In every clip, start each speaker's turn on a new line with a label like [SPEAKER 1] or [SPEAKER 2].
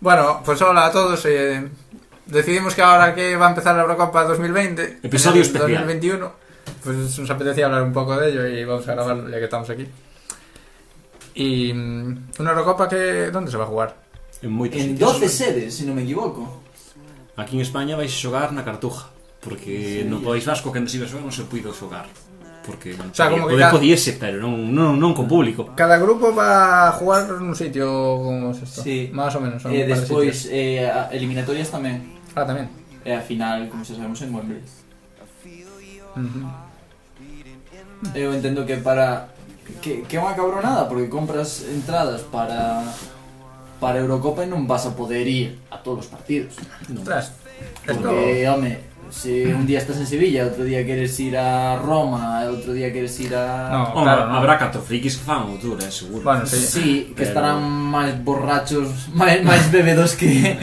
[SPEAKER 1] Bueno, pues hola a todos. eh, decidimos que ahora que va a empezar la Eurocopa 2020,
[SPEAKER 2] Episodio
[SPEAKER 1] en el
[SPEAKER 2] especial.
[SPEAKER 1] 2021, pues nos apetecía hablar un poco de ello y vamos a grabarlo ya que estamos aquí. Y mm, una Eurocopa que... ¿Dónde se va a jugar?
[SPEAKER 2] En moitos
[SPEAKER 3] En
[SPEAKER 2] sitios.
[SPEAKER 3] 12 sedes, se non me equivoco.
[SPEAKER 2] Aquí en España vais a xogar na Cartuja, porque sí. no País Vasco cando se iba a xogar non se puido xogar. Porque
[SPEAKER 1] O
[SPEAKER 2] non
[SPEAKER 1] sea,
[SPEAKER 2] podía-
[SPEAKER 1] como que
[SPEAKER 2] poder
[SPEAKER 1] cada-
[SPEAKER 2] podíase, pero non, non, non con público.
[SPEAKER 1] Cada grupo va a jugar en un sitio como es esto.
[SPEAKER 3] Sí.
[SPEAKER 1] Más o menos. son un
[SPEAKER 3] E
[SPEAKER 1] par de
[SPEAKER 3] despois
[SPEAKER 1] sitios.
[SPEAKER 3] eh, a- eliminatorias tamén.
[SPEAKER 1] Ah, también.
[SPEAKER 3] E a final, como xa sabemos, en Wembley.
[SPEAKER 1] Ujú.
[SPEAKER 3] Eu entendo Eh, que para que, que é unha cabronada porque compras entradas para para Eurocopa e non vas a poder ir a todos os partidos.
[SPEAKER 1] Ostras. Esto...
[SPEAKER 3] Porque, home, se un día estás en Sevilla, outro día queres ir a Roma, e outro día queres ir a...
[SPEAKER 1] No, Ah,
[SPEAKER 2] Home,
[SPEAKER 1] claro,
[SPEAKER 2] claro, habrá catro frikis que fan o tour, eh, seguro.
[SPEAKER 1] Bueno,
[SPEAKER 3] Sí,
[SPEAKER 1] sí.
[SPEAKER 3] que
[SPEAKER 2] pero-
[SPEAKER 3] estarán máis borrachos, máis, máis bebedos que,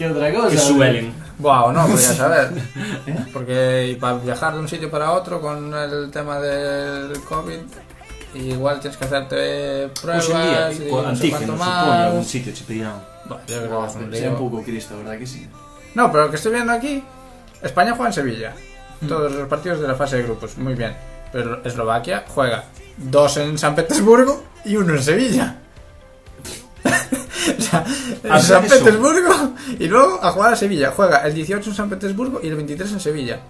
[SPEAKER 3] que outra cosa.
[SPEAKER 2] que suelen.
[SPEAKER 1] Buah, o no, podría saber.
[SPEAKER 3] ¿Eh?
[SPEAKER 1] Porque para viajar de un sitio para otro con el tema del COVID, igual tienes que hacerte pruebas
[SPEAKER 2] Hoxe en Pues
[SPEAKER 1] y
[SPEAKER 2] día, co-
[SPEAKER 1] no sé cuánto
[SPEAKER 2] antígenos, supoño, algún Ah, pues,
[SPEAKER 1] más.
[SPEAKER 2] sitio che pedirán.
[SPEAKER 1] Bueno, yo creo que
[SPEAKER 3] Wow,
[SPEAKER 1] es un
[SPEAKER 3] pero sea un
[SPEAKER 1] lío.
[SPEAKER 3] pouco Cristo, verdad que sí?
[SPEAKER 1] No, pero lo que estoy viendo aquí, España juega en Sevilla. Todos los partidos de la fase de grupos, muy bien. Pero Eslovaquia juega dos en San Petersburgo y uno en Sevilla. o sea,
[SPEAKER 2] ¿A
[SPEAKER 1] en San
[SPEAKER 2] qué son?
[SPEAKER 1] Petersburgo y luego a jugar a Sevilla. Juega el 18 en San Petersburgo y el 23 en Sevilla.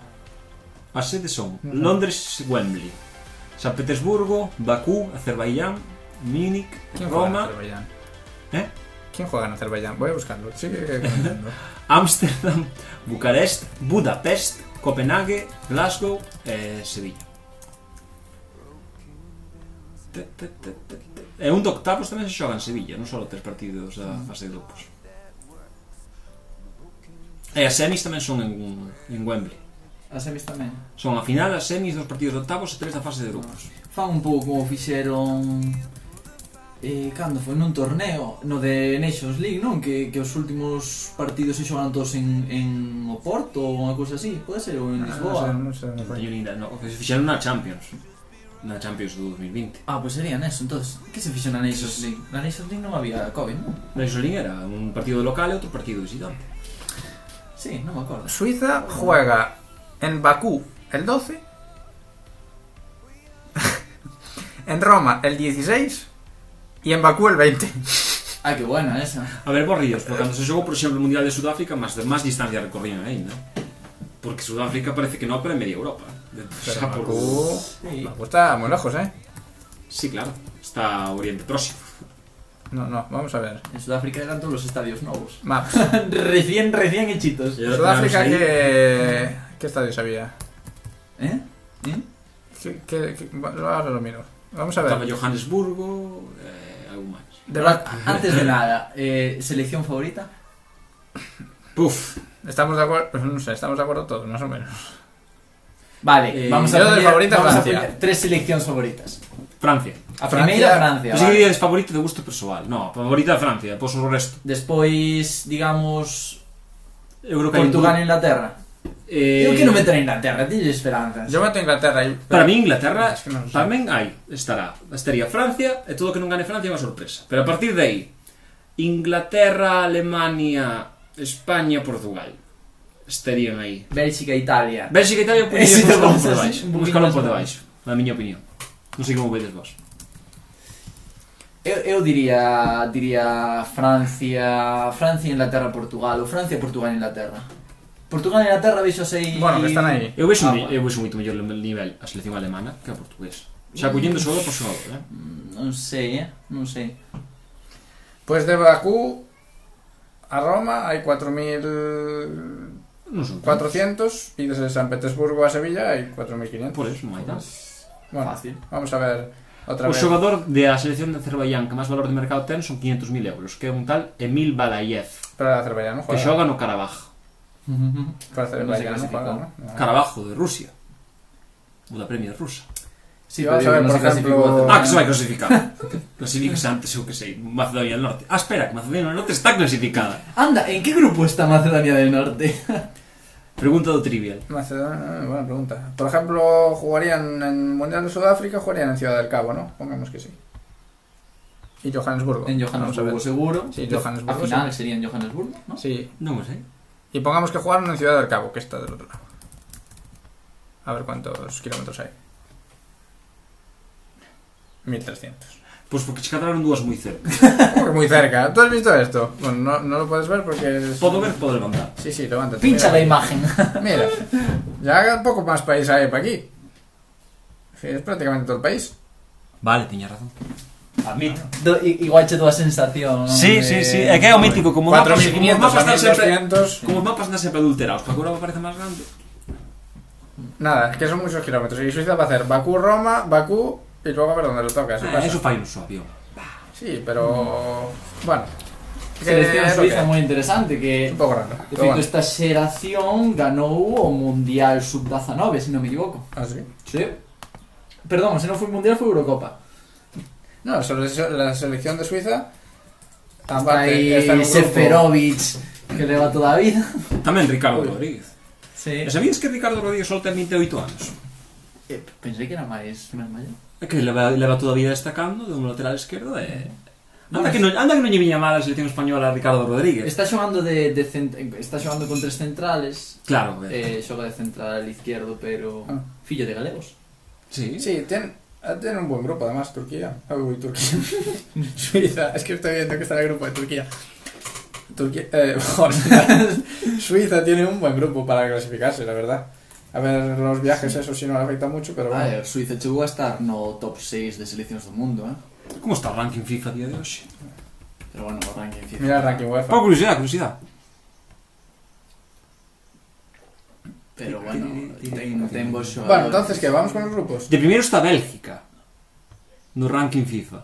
[SPEAKER 2] As sedes son Londres, Wembley, San Petersburgo, Bakú, Azerbaiyán, Múnich,
[SPEAKER 1] ¿Quién juega en
[SPEAKER 2] Roma,
[SPEAKER 1] Azerbaiyán?
[SPEAKER 2] eh?
[SPEAKER 1] ¿Quién juega en Azerbaiyán? Voy a buscarlo. Sí, que- que- comentando.
[SPEAKER 2] Ámsterdam, Bucarest, Budapest, Copenhague, Glasgow e Sevilla. Te, te, te, te, te. E un de octavos tamén se xoga en Sevilla, non só tres partidos da fase de grupos. E as semis tamén son en, en Wembley.
[SPEAKER 3] As semis tamén.
[SPEAKER 2] Son a final as semis dos partidos de octavos e tres da fase de grupos.
[SPEAKER 3] Fan un pouco como fixeron eh, cando foi nun torneo no de Nations League, non? Que, que os últimos partidos se xogaron todos en, en Oporto ou unha cousa así, pode ser, ou en
[SPEAKER 1] Ah,
[SPEAKER 3] Lisboa.
[SPEAKER 1] No sé, no sé dónde
[SPEAKER 2] Non
[SPEAKER 1] fue.
[SPEAKER 2] teño ni idea, no, se fixeron na Champions. Na Champions do 2020.
[SPEAKER 3] Ah, pois pues sería neso, entonces Que se fixo na Nations League? Na Nations League non había COVID, non?
[SPEAKER 2] Na Isolín era un partido local e outro partido visitante.
[SPEAKER 3] Sí, non me acordo
[SPEAKER 1] Suiza juega en Bakú el 12. en Roma el 16. Y en Bakú el 20.
[SPEAKER 3] Ah, que buena esa
[SPEAKER 2] A ver, borrillos, porque cando se xogou, por exemplo, o Mundial de Sudáfrica, máis máis distancia recorrían aínda. Porque Sudáfrica parece que non, pero é media Europa. De- O
[SPEAKER 1] Pero
[SPEAKER 2] sea, por...
[SPEAKER 1] Bakú...
[SPEAKER 3] Sí.
[SPEAKER 1] Bakú está muy lejos, ¿eh?
[SPEAKER 2] Sí, claro. Está Oriente Próximo.
[SPEAKER 1] No, no, vamos a ver.
[SPEAKER 3] En Sudáfrica eran todos os estadios novos
[SPEAKER 1] Maps.
[SPEAKER 3] Recién, recién hechitos
[SPEAKER 1] Pues Sudáfrica,
[SPEAKER 2] Ahí-
[SPEAKER 1] ¿qué, qué estadio sabía?
[SPEAKER 3] Eh? Eh?
[SPEAKER 1] ¿Qué, qué- qué- bueno, Ahora lo miro. Vamos a
[SPEAKER 2] Estaba
[SPEAKER 1] ver.
[SPEAKER 2] Johannesburgo, eh, algún máis.
[SPEAKER 1] De Bakú-
[SPEAKER 3] Antes de nada, eh, selección favorita?
[SPEAKER 2] Puf,
[SPEAKER 1] Estamos de acuerdo, pues no sé, estamos de acuerdo todos, más o menos.
[SPEAKER 3] Vale,
[SPEAKER 2] Eh,
[SPEAKER 3] vamos a
[SPEAKER 1] yo de
[SPEAKER 3] poñer-
[SPEAKER 1] favorita,
[SPEAKER 3] vamos a
[SPEAKER 1] Francia.
[SPEAKER 3] poñer tres seleccións favoritas.
[SPEAKER 2] Francia.
[SPEAKER 3] A
[SPEAKER 1] Francia.
[SPEAKER 3] primeira Francia,
[SPEAKER 2] Pensei que
[SPEAKER 3] vale.
[SPEAKER 2] día favorito de gusto persoal. No, favorita de Francia, pois o resto.
[SPEAKER 3] Despois, digamos,
[SPEAKER 2] Eu creo que hai un-
[SPEAKER 3] Portugal e Inglaterra.
[SPEAKER 2] Eh,
[SPEAKER 3] Eu quero meter a Inglaterra, tiñes esperanzas.
[SPEAKER 1] Yo meto a Inglaterra ahí.
[SPEAKER 2] Para mí Inglaterra
[SPEAKER 1] Es que no lo sé.
[SPEAKER 2] tamén hai, estará, estaría Francia e todo o que non gane Francia é unha sorpresa. Pero a partir de aí, Inglaterra, Alemania, España, Portugal estarían aí.
[SPEAKER 3] Bélxica e Italia.
[SPEAKER 2] Bélxica e Italia pois un
[SPEAKER 3] Ese
[SPEAKER 2] escalón
[SPEAKER 3] vamos
[SPEAKER 2] por
[SPEAKER 3] a-
[SPEAKER 2] debaixo,
[SPEAKER 3] un
[SPEAKER 2] un
[SPEAKER 3] poquinho
[SPEAKER 2] escalón
[SPEAKER 3] máis
[SPEAKER 2] por
[SPEAKER 3] abaixo.
[SPEAKER 2] debaixo, na miña opinión. Non sei como vedes vos.
[SPEAKER 1] Ah,
[SPEAKER 3] Eu, eu diría diría Francia, Francia, Inglaterra, Portugal ou Francia, Portugal, Inglaterra. Portugal e Inglaterra veixo sei
[SPEAKER 1] Bueno, que están ahí.
[SPEAKER 2] Eu vexo, ah,
[SPEAKER 3] Ah, bueno.
[SPEAKER 2] eu vexo moito mellor o nivel a selección alemana que a portuguesa. Xa collendo xogador por xogador, eh?
[SPEAKER 3] Non sei, eh? non sei.
[SPEAKER 1] Pues de Bakú a Roma hay 4.400
[SPEAKER 2] Non son
[SPEAKER 1] y desde San Petersburgo a Sevilla hay 4.500.
[SPEAKER 2] Por eso, non hai tanto.
[SPEAKER 1] Bueno,
[SPEAKER 3] Pues Fácil. Pues
[SPEAKER 1] vamos a ver otra
[SPEAKER 2] O
[SPEAKER 1] vez.
[SPEAKER 2] xogador da selección de Azerbaiyán que máis valor de mercado ten son 500.000 euros, que é un tal Emil Balayev,
[SPEAKER 1] Pero Azerbaiyán no
[SPEAKER 2] que
[SPEAKER 1] juega.
[SPEAKER 2] xoga no Karabaj.
[SPEAKER 1] Pero Azerbaiyán
[SPEAKER 3] No
[SPEAKER 1] no
[SPEAKER 3] sé
[SPEAKER 1] juega,
[SPEAKER 3] clasificó.
[SPEAKER 1] ¿no?
[SPEAKER 2] Carabajo de Rusia. O da Premier rusa.
[SPEAKER 3] Sí,
[SPEAKER 1] Vamos
[SPEAKER 3] pero
[SPEAKER 1] a ver,
[SPEAKER 3] digo, non
[SPEAKER 1] por
[SPEAKER 3] se clasificou
[SPEAKER 1] exemplo-
[SPEAKER 3] Azerbaiyán.
[SPEAKER 2] Ah, que se vai clasificar. Clasifíquese antes, eu que sei, Macedonia del Norte. Ah, espera, que Macedonia del Norte está clasificada.
[SPEAKER 3] Anda, en que grupo está Macedonia del Norte?
[SPEAKER 2] Pregunta do Trivial.
[SPEAKER 1] Macedonia, buena pregunta. Por ejemplo, jugarían en Mundial de Sudáfrica, jugarían en Ciudad del Cabo, ¿no? Pongamos que sí. y Johannesburgo.
[SPEAKER 3] En
[SPEAKER 1] Vamos a ver.
[SPEAKER 3] Johannesburgo, Ah, seguro.
[SPEAKER 1] Sí,
[SPEAKER 3] Entonces,
[SPEAKER 1] Johannesburgo,
[SPEAKER 3] Al final sería en Johannesburgo, ¿no?
[SPEAKER 1] Sí.
[SPEAKER 2] Non o sei.
[SPEAKER 1] Y pongamos que jugaron en Ciudad del Cabo, que está del otro lado. A ver cuántos kilómetros hay. 1300.
[SPEAKER 2] Pois porque se cadraron dúas moi cerca.
[SPEAKER 1] Como que Muy cerca. ¿Tú has visto esto? Bueno, no, no lo puedes ver porque es...
[SPEAKER 2] Podo ver, podo levantar.
[SPEAKER 1] Sí, sí, levántate.
[SPEAKER 3] Pincha
[SPEAKER 1] mira.
[SPEAKER 3] la imagen.
[SPEAKER 1] Mira, ya poco más país hay para aquí. Sí, Es prácticamente todo el país.
[SPEAKER 4] Vale, tiña razón. Admito.
[SPEAKER 3] Do, i- igual che dúa sensación.
[SPEAKER 4] Sí, sí, sí. É que é o mítico como mapa.
[SPEAKER 1] 4.500 a
[SPEAKER 2] Como mapas están
[SPEAKER 1] 1.200.
[SPEAKER 2] Como os mapas andan sempre adulterados, que agora me parece máis grande.
[SPEAKER 1] Nada, que son muchos kilómetros. Y Suiza va a hacer Bakú-Roma, Bakú y luego a ver dónde lo tocas.
[SPEAKER 2] Ah,
[SPEAKER 1] pasa.
[SPEAKER 2] eso fai un só avión.
[SPEAKER 1] Sí, pero... Bueno. que
[SPEAKER 3] Selección
[SPEAKER 1] es lo que
[SPEAKER 3] suiza
[SPEAKER 1] hay.
[SPEAKER 3] moi interesante que
[SPEAKER 1] Un pouco raro.
[SPEAKER 3] De
[SPEAKER 1] pero
[SPEAKER 3] feito,
[SPEAKER 1] bueno.
[SPEAKER 3] esta xeración ganou o Mundial Sub-19, se non me equivoco.
[SPEAKER 1] Ah, sí.
[SPEAKER 3] Sí. Perdón, se non foi Mundial, foi Eurocopa.
[SPEAKER 1] No, sobre eso- la selección de Suiza...
[SPEAKER 3] Está
[SPEAKER 1] Aparte,
[SPEAKER 3] aí
[SPEAKER 1] está en un grupo-
[SPEAKER 3] Seferovic, que leva toda a vida.
[SPEAKER 2] Tamén Ricardo Rodríguez.
[SPEAKER 3] Sí.
[SPEAKER 2] E sabías que Ricardo Rodríguez só ten 28 anos?
[SPEAKER 3] Pensei que era máis máis maior.
[SPEAKER 2] É que leva, leva toda a vida destacando de un lateral esquerdo e... Anda que, non, anda que non lle viña mal a selección española a Ricardo Rodríguez.
[SPEAKER 3] Está xogando de, de cent... está xogando con tres centrales.
[SPEAKER 2] Claro, eh.
[SPEAKER 3] Eh, xoga de central izquierdo, pero
[SPEAKER 1] Ah.
[SPEAKER 3] fillo de galegos.
[SPEAKER 2] Sí.
[SPEAKER 1] Sí, tienen, tienen un buen grupo, además, Turquía. Ah, uy, Turquía. Suiza, es que estoy viendo que está en el grupo de Turquía. Turquía, eh, joder. Suiza tiene un buen grupo para clasificarse, la verdad. A ver, los viajes, eso sí no le afecta mucho, pero
[SPEAKER 3] A
[SPEAKER 1] bueno.
[SPEAKER 3] ver, Suiza chegou a estar no top 6 de seleccións do mundo, eh?
[SPEAKER 2] Como está o ranking FIFA a día de hoxe?
[SPEAKER 3] Pero bueno, o ranking FIFA.
[SPEAKER 1] Mira el ranking UEFA.
[SPEAKER 2] Pá, curiosidade, curiosidade.
[SPEAKER 3] Pero bueno, ten, ten bons xogadores.
[SPEAKER 1] Bueno, entonces, ¿qué? ¿Vamos con los grupos?
[SPEAKER 2] De primeiro está Bélgica no ranking FIFA.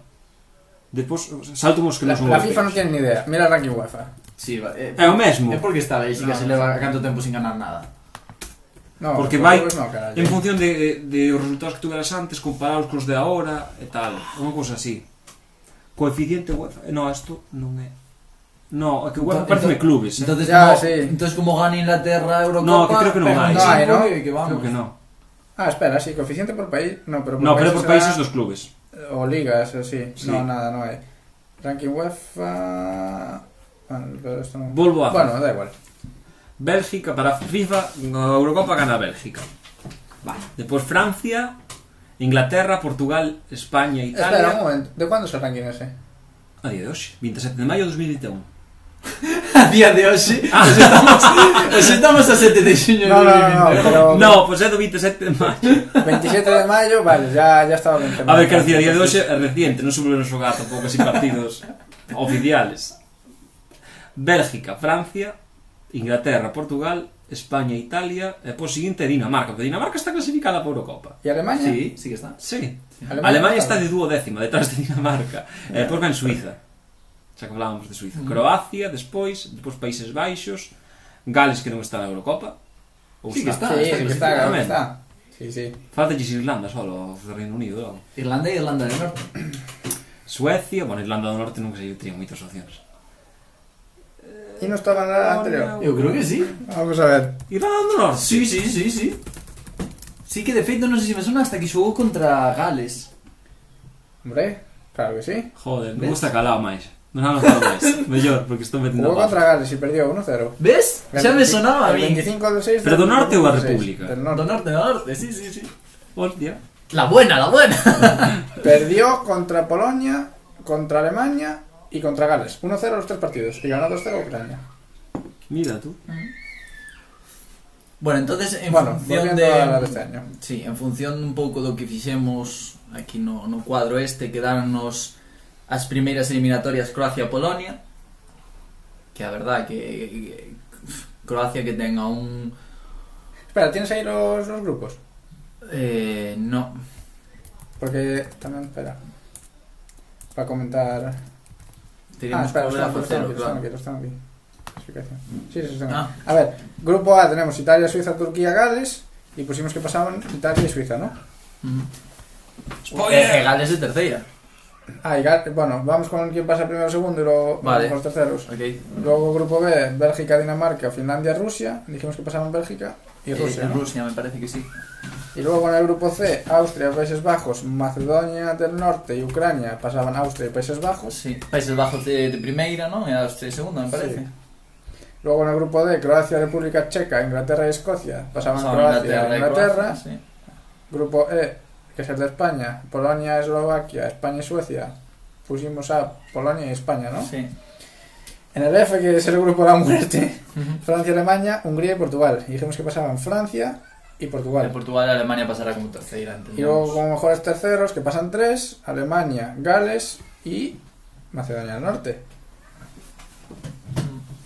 [SPEAKER 2] Depois salto mos que
[SPEAKER 1] La,
[SPEAKER 2] non son
[SPEAKER 1] la FIFA no
[SPEAKER 2] europeos.
[SPEAKER 1] tiene ni idea. Mira el ranking UEFA.
[SPEAKER 3] Sí, va, eh,
[SPEAKER 2] É o mesmo.
[SPEAKER 3] É porque está
[SPEAKER 1] No.
[SPEAKER 3] Bélxica se leva canto tempo sin ganar nada.
[SPEAKER 1] No,
[SPEAKER 2] Porque
[SPEAKER 1] los
[SPEAKER 2] vai
[SPEAKER 1] grupos no, carallo.
[SPEAKER 2] en función de, de, de os resultados que tuveras antes comparados cos de agora e tal, unha cousa así. Coeficiente UEFA, Eh, no, isto non é. No, é que UEFA
[SPEAKER 3] Entón-
[SPEAKER 2] pareceme
[SPEAKER 3] entón-
[SPEAKER 2] clubes, eh?
[SPEAKER 3] Entonces,
[SPEAKER 1] Ya,
[SPEAKER 3] como,
[SPEAKER 1] sí.
[SPEAKER 3] entonces como gana Inglaterra Eurocopa,
[SPEAKER 2] No, que creo que no
[SPEAKER 3] pega un
[SPEAKER 2] hay.
[SPEAKER 1] No hay,
[SPEAKER 3] cinco
[SPEAKER 1] ¿no?
[SPEAKER 3] y que vamos.
[SPEAKER 2] Creo que non.
[SPEAKER 1] Ah, espera, sí, coeficiente por país. No, pero por
[SPEAKER 2] No, pero
[SPEAKER 1] países
[SPEAKER 2] por países
[SPEAKER 1] será-
[SPEAKER 2] dos clubes.
[SPEAKER 1] O ligas, o sí.
[SPEAKER 2] Sí.
[SPEAKER 1] No, nada, no hay. Ranking UEFA. Bueno, pero esto no.
[SPEAKER 2] Volvo a
[SPEAKER 1] Bueno, da igual.
[SPEAKER 2] Bélgica para FIFA, a Eurocopa gana Bélgica. Vale. Despois Francia, Inglaterra, Portugal, España,
[SPEAKER 1] Espera un
[SPEAKER 2] Italia.
[SPEAKER 1] momento. ¿De cuándo es el ranking ese?
[SPEAKER 2] A día de hoxe, 27 de maio de 2021.
[SPEAKER 3] A día de hoxe,
[SPEAKER 2] Ah,
[SPEAKER 3] hoxe estamos, hoxe estamos a 7 de xuño
[SPEAKER 1] No, no, no,
[SPEAKER 3] de
[SPEAKER 1] no,
[SPEAKER 3] 2020.
[SPEAKER 1] pero
[SPEAKER 2] No, pois é do 27 de maio.
[SPEAKER 1] 27 de mayo, vale, ya, ya estaba bien
[SPEAKER 2] A ver, que decir, a día de hoxe é reciente, non se volveron xogar tampouco así partidos oficiales. Bélgica, Francia, Inglaterra, Portugal, España, Italia, e pois seguinte Dinamarca, porque Dinamarca está clasificada para a Eurocopa.
[SPEAKER 1] ¿Y Alemania?
[SPEAKER 3] Sí, sí que está.
[SPEAKER 2] Sí.
[SPEAKER 1] Alemania
[SPEAKER 2] Alemania
[SPEAKER 1] está
[SPEAKER 2] está de duodécima, detrás de Dinamarca. eh, E despois ven Suiza. Xa que hablábamos de Suiza.
[SPEAKER 3] Mm.
[SPEAKER 2] Croacia, despois, despois Países Baixos, Gales que non está na Eurocopa. Ou
[SPEAKER 3] Sí que
[SPEAKER 1] Sí,
[SPEAKER 3] está.
[SPEAKER 1] sí, que está, claro que
[SPEAKER 2] Tamén.
[SPEAKER 1] está. Sí, sí.
[SPEAKER 2] Falta Irlanda solo, o Reino Unido. logo.
[SPEAKER 3] Irlanda e Irlanda del Norte.
[SPEAKER 2] Suecia, bueno, Irlanda do Norte nunca se lle teñen moitas opcións.
[SPEAKER 1] ¿Y no estaba en
[SPEAKER 2] Oh,
[SPEAKER 1] la anterior?
[SPEAKER 3] Eu creo que sí.
[SPEAKER 1] Vamos a ver.
[SPEAKER 2] Irlanda do Norte.
[SPEAKER 3] Sí, sí, sí, sí. Sí que de feito non sei se me sona hasta que xogou contra Gales.
[SPEAKER 1] Hombre, claro que sí.
[SPEAKER 2] Joder, me
[SPEAKER 3] Ves?
[SPEAKER 2] gusta calado máis. Non han falado máis. Mellor, porque estou metendo
[SPEAKER 1] Jugó
[SPEAKER 2] a pata.
[SPEAKER 1] contra Gales y perdió 1-0.
[SPEAKER 3] Ves? Xa me
[SPEAKER 1] El
[SPEAKER 3] sonaba a mí.
[SPEAKER 1] 25 del 6
[SPEAKER 2] Pero do
[SPEAKER 1] del
[SPEAKER 2] norte ou a
[SPEAKER 1] 2016,
[SPEAKER 2] República?
[SPEAKER 1] Del
[SPEAKER 3] Do
[SPEAKER 1] norte.
[SPEAKER 3] norte, do norte, sí, sí, sí.
[SPEAKER 2] Hostia.
[SPEAKER 3] La buena, la buena.
[SPEAKER 1] Perdió contra Polonia, contra Alemania y contra Gales. 1-0 los tres partidos. Y ganó 2-0 Ucrania.
[SPEAKER 2] Mira tú.
[SPEAKER 3] Bueno, entonces en
[SPEAKER 1] Bueno,
[SPEAKER 3] función
[SPEAKER 1] volviendo a la de este
[SPEAKER 3] de
[SPEAKER 1] año.
[SPEAKER 3] Sí, en función un pouco do que fixemos aquí no, no cuadro este quedáronnos as primeiras eliminatorias Croacia-Polonia que a verdad que, que- Croacia que ten a un
[SPEAKER 1] Espera, ¿tienes ahí los, los grupos?
[SPEAKER 3] eh, no
[SPEAKER 1] Porque también, espera. Para comentar. Ah,
[SPEAKER 3] teríamos que
[SPEAKER 1] espera, los
[SPEAKER 3] volver
[SPEAKER 1] tengo
[SPEAKER 3] a
[SPEAKER 1] aquí, los tengo
[SPEAKER 3] facelo,
[SPEAKER 1] aquí, los tengo aquí, los
[SPEAKER 3] claro.
[SPEAKER 1] tengo aquí. Clasificación. Sí, sí, los tengo.
[SPEAKER 3] Ah.
[SPEAKER 1] A ver, grupo A tenemos Italia, Suiza, Turquía, Gales. Y pusimos que pasaban Italia y Suiza, ¿no?
[SPEAKER 3] Mm.
[SPEAKER 2] Spoiler.
[SPEAKER 3] Eh, Gales de terceira.
[SPEAKER 1] Ah, y Gales. Bueno, vamos con quién pasa primero, segundo y luego
[SPEAKER 3] Vale.
[SPEAKER 1] con los terceros.
[SPEAKER 3] Okay.
[SPEAKER 1] Luego grupo B, Bélgica, Dinamarca, Finlandia, Rusia. Dijimos que pasaban Bélgica y
[SPEAKER 3] Eh,
[SPEAKER 1] Rusia.
[SPEAKER 3] en
[SPEAKER 1] ¿no?
[SPEAKER 3] Rusia me parece que sí.
[SPEAKER 1] Y luego en el grupo C, Austria, Países Bajos, Macedonia del Norte y Ucrania pasaban Austria y Países Bajos.
[SPEAKER 3] Sí, Países Bajos de, de primeira, non? E a Austria de segunda, me
[SPEAKER 1] Sí.
[SPEAKER 3] parece.
[SPEAKER 1] Luego en el grupo D, Croacia, República Checa, Inglaterra y Escocia pasaban
[SPEAKER 3] Pasaban
[SPEAKER 1] Croacia e
[SPEAKER 3] e
[SPEAKER 1] Inglaterra.
[SPEAKER 3] Croacia, sí.
[SPEAKER 1] Grupo E, que es el de España, Polonia, Eslovaquia, España y Suecia. Pusimos a Polonia y España, ¿no?
[SPEAKER 3] Sí.
[SPEAKER 1] En el F, que es el grupo de la muerte, Francia, Alemania, Hungría y Portugal. Y dijimos que pasaban Francia y
[SPEAKER 3] Vale.
[SPEAKER 1] Portugal.
[SPEAKER 3] Portugal e Alemania pasará como terceira, entendemos.
[SPEAKER 1] Y luego como mejores terceros, que pasan tres, Alemania, Gales y Macedonia del Norte.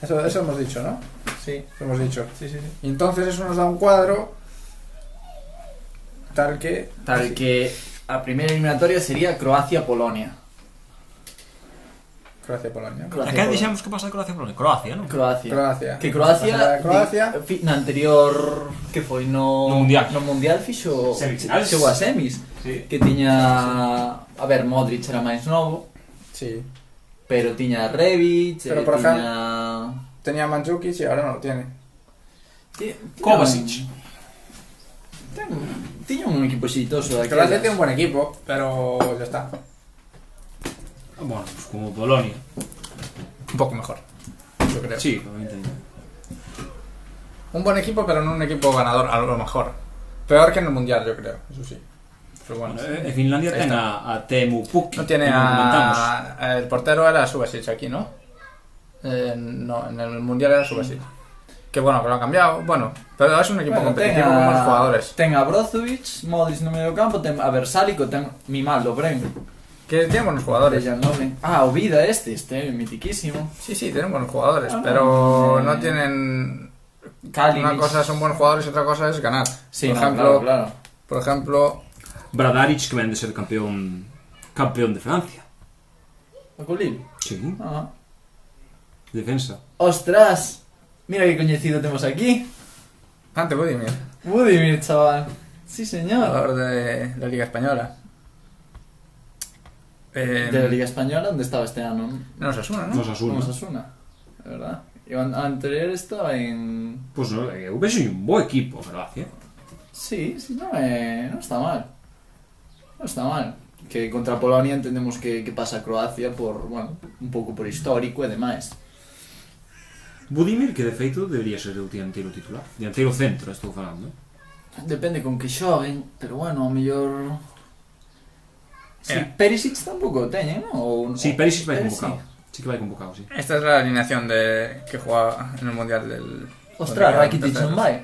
[SPEAKER 1] Eso, eso hemos dicho, ¿no?
[SPEAKER 3] Sí,
[SPEAKER 1] Eso hemos dicho.
[SPEAKER 3] sí, sí. sí.
[SPEAKER 1] Y entonces eso nos da un cuadro tal que...
[SPEAKER 3] Tal que a primeira eliminatoria sería Croacia-Polonia.
[SPEAKER 1] Croacia-Polonia.
[SPEAKER 5] A
[SPEAKER 2] eh.
[SPEAKER 3] Croacia,
[SPEAKER 5] que dixemos que pasa a Croacia Polonia? Croacia, non?
[SPEAKER 3] Croacia.
[SPEAKER 1] Croacia.
[SPEAKER 3] Que Croacia,
[SPEAKER 1] Pasará a Croacia.
[SPEAKER 3] di- fi- na anterior que foi no
[SPEAKER 2] No Mundial.
[SPEAKER 3] no mundial fixo
[SPEAKER 2] Semifinales.
[SPEAKER 3] chegou a semis,
[SPEAKER 2] Sí.
[SPEAKER 3] que tiña a ver, Modric era máis novo,
[SPEAKER 1] Sí.
[SPEAKER 3] pero tiña Rebic,
[SPEAKER 1] Pero,
[SPEAKER 3] eh,
[SPEAKER 1] por
[SPEAKER 3] tiña
[SPEAKER 1] Tenía Mandzukic y ahora no lo tiene.
[SPEAKER 3] Ti- tiña
[SPEAKER 2] Kovacic.
[SPEAKER 3] un- ten- Tiña un equipo exitoso
[SPEAKER 1] Croacia
[SPEAKER 3] daquelas.
[SPEAKER 1] tiene un buen equipo, pero ya está.
[SPEAKER 2] Bueno, pues como Polonia.
[SPEAKER 1] Un poco mejor. Yo creo.
[SPEAKER 2] Sí, obviamente.
[SPEAKER 1] Un buen equipo, pero no un equipo ganador, a lo mejor. Peor que en el Mundial, yo creo. Eso sí. Pero bueno.
[SPEAKER 2] Bueno, eh, Finlandia
[SPEAKER 1] Ahí
[SPEAKER 2] ten
[SPEAKER 1] está.
[SPEAKER 2] a, a Teemu Pukki.
[SPEAKER 1] No tiene
[SPEAKER 2] que lo comentamos.
[SPEAKER 1] a, a- El portero era Subasic aquí, ¿no? Eh, no, en el Mundial era Subasic. Que bueno, que lo han cambiado. Bueno, pero es un equipo
[SPEAKER 3] Bueno,
[SPEAKER 1] competitivo con buenos jugadores.
[SPEAKER 3] Ten a Brozovic, Modric no medio campo, ten a Versalico, ten mi mal, Bren,
[SPEAKER 1] Que tienen buenos
[SPEAKER 3] de
[SPEAKER 1] jugadores.
[SPEAKER 3] Jan Lovren. Ah, o Vida este, este, mitiquísimo.
[SPEAKER 1] Sí, sí, tienen buenos jugadores,
[SPEAKER 3] Ah, no.
[SPEAKER 1] pero no
[SPEAKER 3] Eh,
[SPEAKER 1] tienen...
[SPEAKER 3] Kalinic.
[SPEAKER 1] Una cosa son buenos jugadores y otra cosa es ganar.
[SPEAKER 3] Sí,
[SPEAKER 1] por
[SPEAKER 3] no,
[SPEAKER 1] ejemplo,
[SPEAKER 3] claro, claro.
[SPEAKER 1] por ejemplo,
[SPEAKER 2] Bradaric, que vende ser campeón, campeón de Francia.
[SPEAKER 3] O Colín.
[SPEAKER 2] Sí,
[SPEAKER 3] Ah.
[SPEAKER 2] defensa.
[SPEAKER 3] Ostras, mira que coñecido temos aquí.
[SPEAKER 1] ante Budimir,
[SPEAKER 3] Budimir, chaval. Sí, señor.
[SPEAKER 1] jugador de la Liga Española. Eh,
[SPEAKER 3] De la Liga Española, ¿dónde estaba este ano?
[SPEAKER 1] No se asuna, ¿no?
[SPEAKER 2] Nos
[SPEAKER 3] Vamos
[SPEAKER 2] asumos.
[SPEAKER 3] a Suna, verdad. E o an- anterior estaba en...
[SPEAKER 2] Pois no, eu vexo un bo equipo, ¿eh? Croacia.
[SPEAKER 3] Sí, sí, no, eh, no está mal. No está mal. Que contra Polonia entendemos que, que pasa a Croacia por, bueno, un pouco por histórico e demais.
[SPEAKER 2] Budimir, que de feito debería ser o dianteiro titular. Dianteiro centro, estou falando. eh?
[SPEAKER 3] Depende con que xoguen, pero bueno, ao mellor... Sí,
[SPEAKER 1] Eh.
[SPEAKER 3] Perisic tampouco o teñen, non? Ou-
[SPEAKER 2] Sí, Perisic vai
[SPEAKER 3] Perisic.
[SPEAKER 2] convocado. Sí que vai convocado, sí.
[SPEAKER 1] Esta es la alineación de que jugaba en el Mundial del... donde
[SPEAKER 3] Ostras,
[SPEAKER 1] quedaron
[SPEAKER 3] Rakitic non
[SPEAKER 1] terceros.
[SPEAKER 3] vai.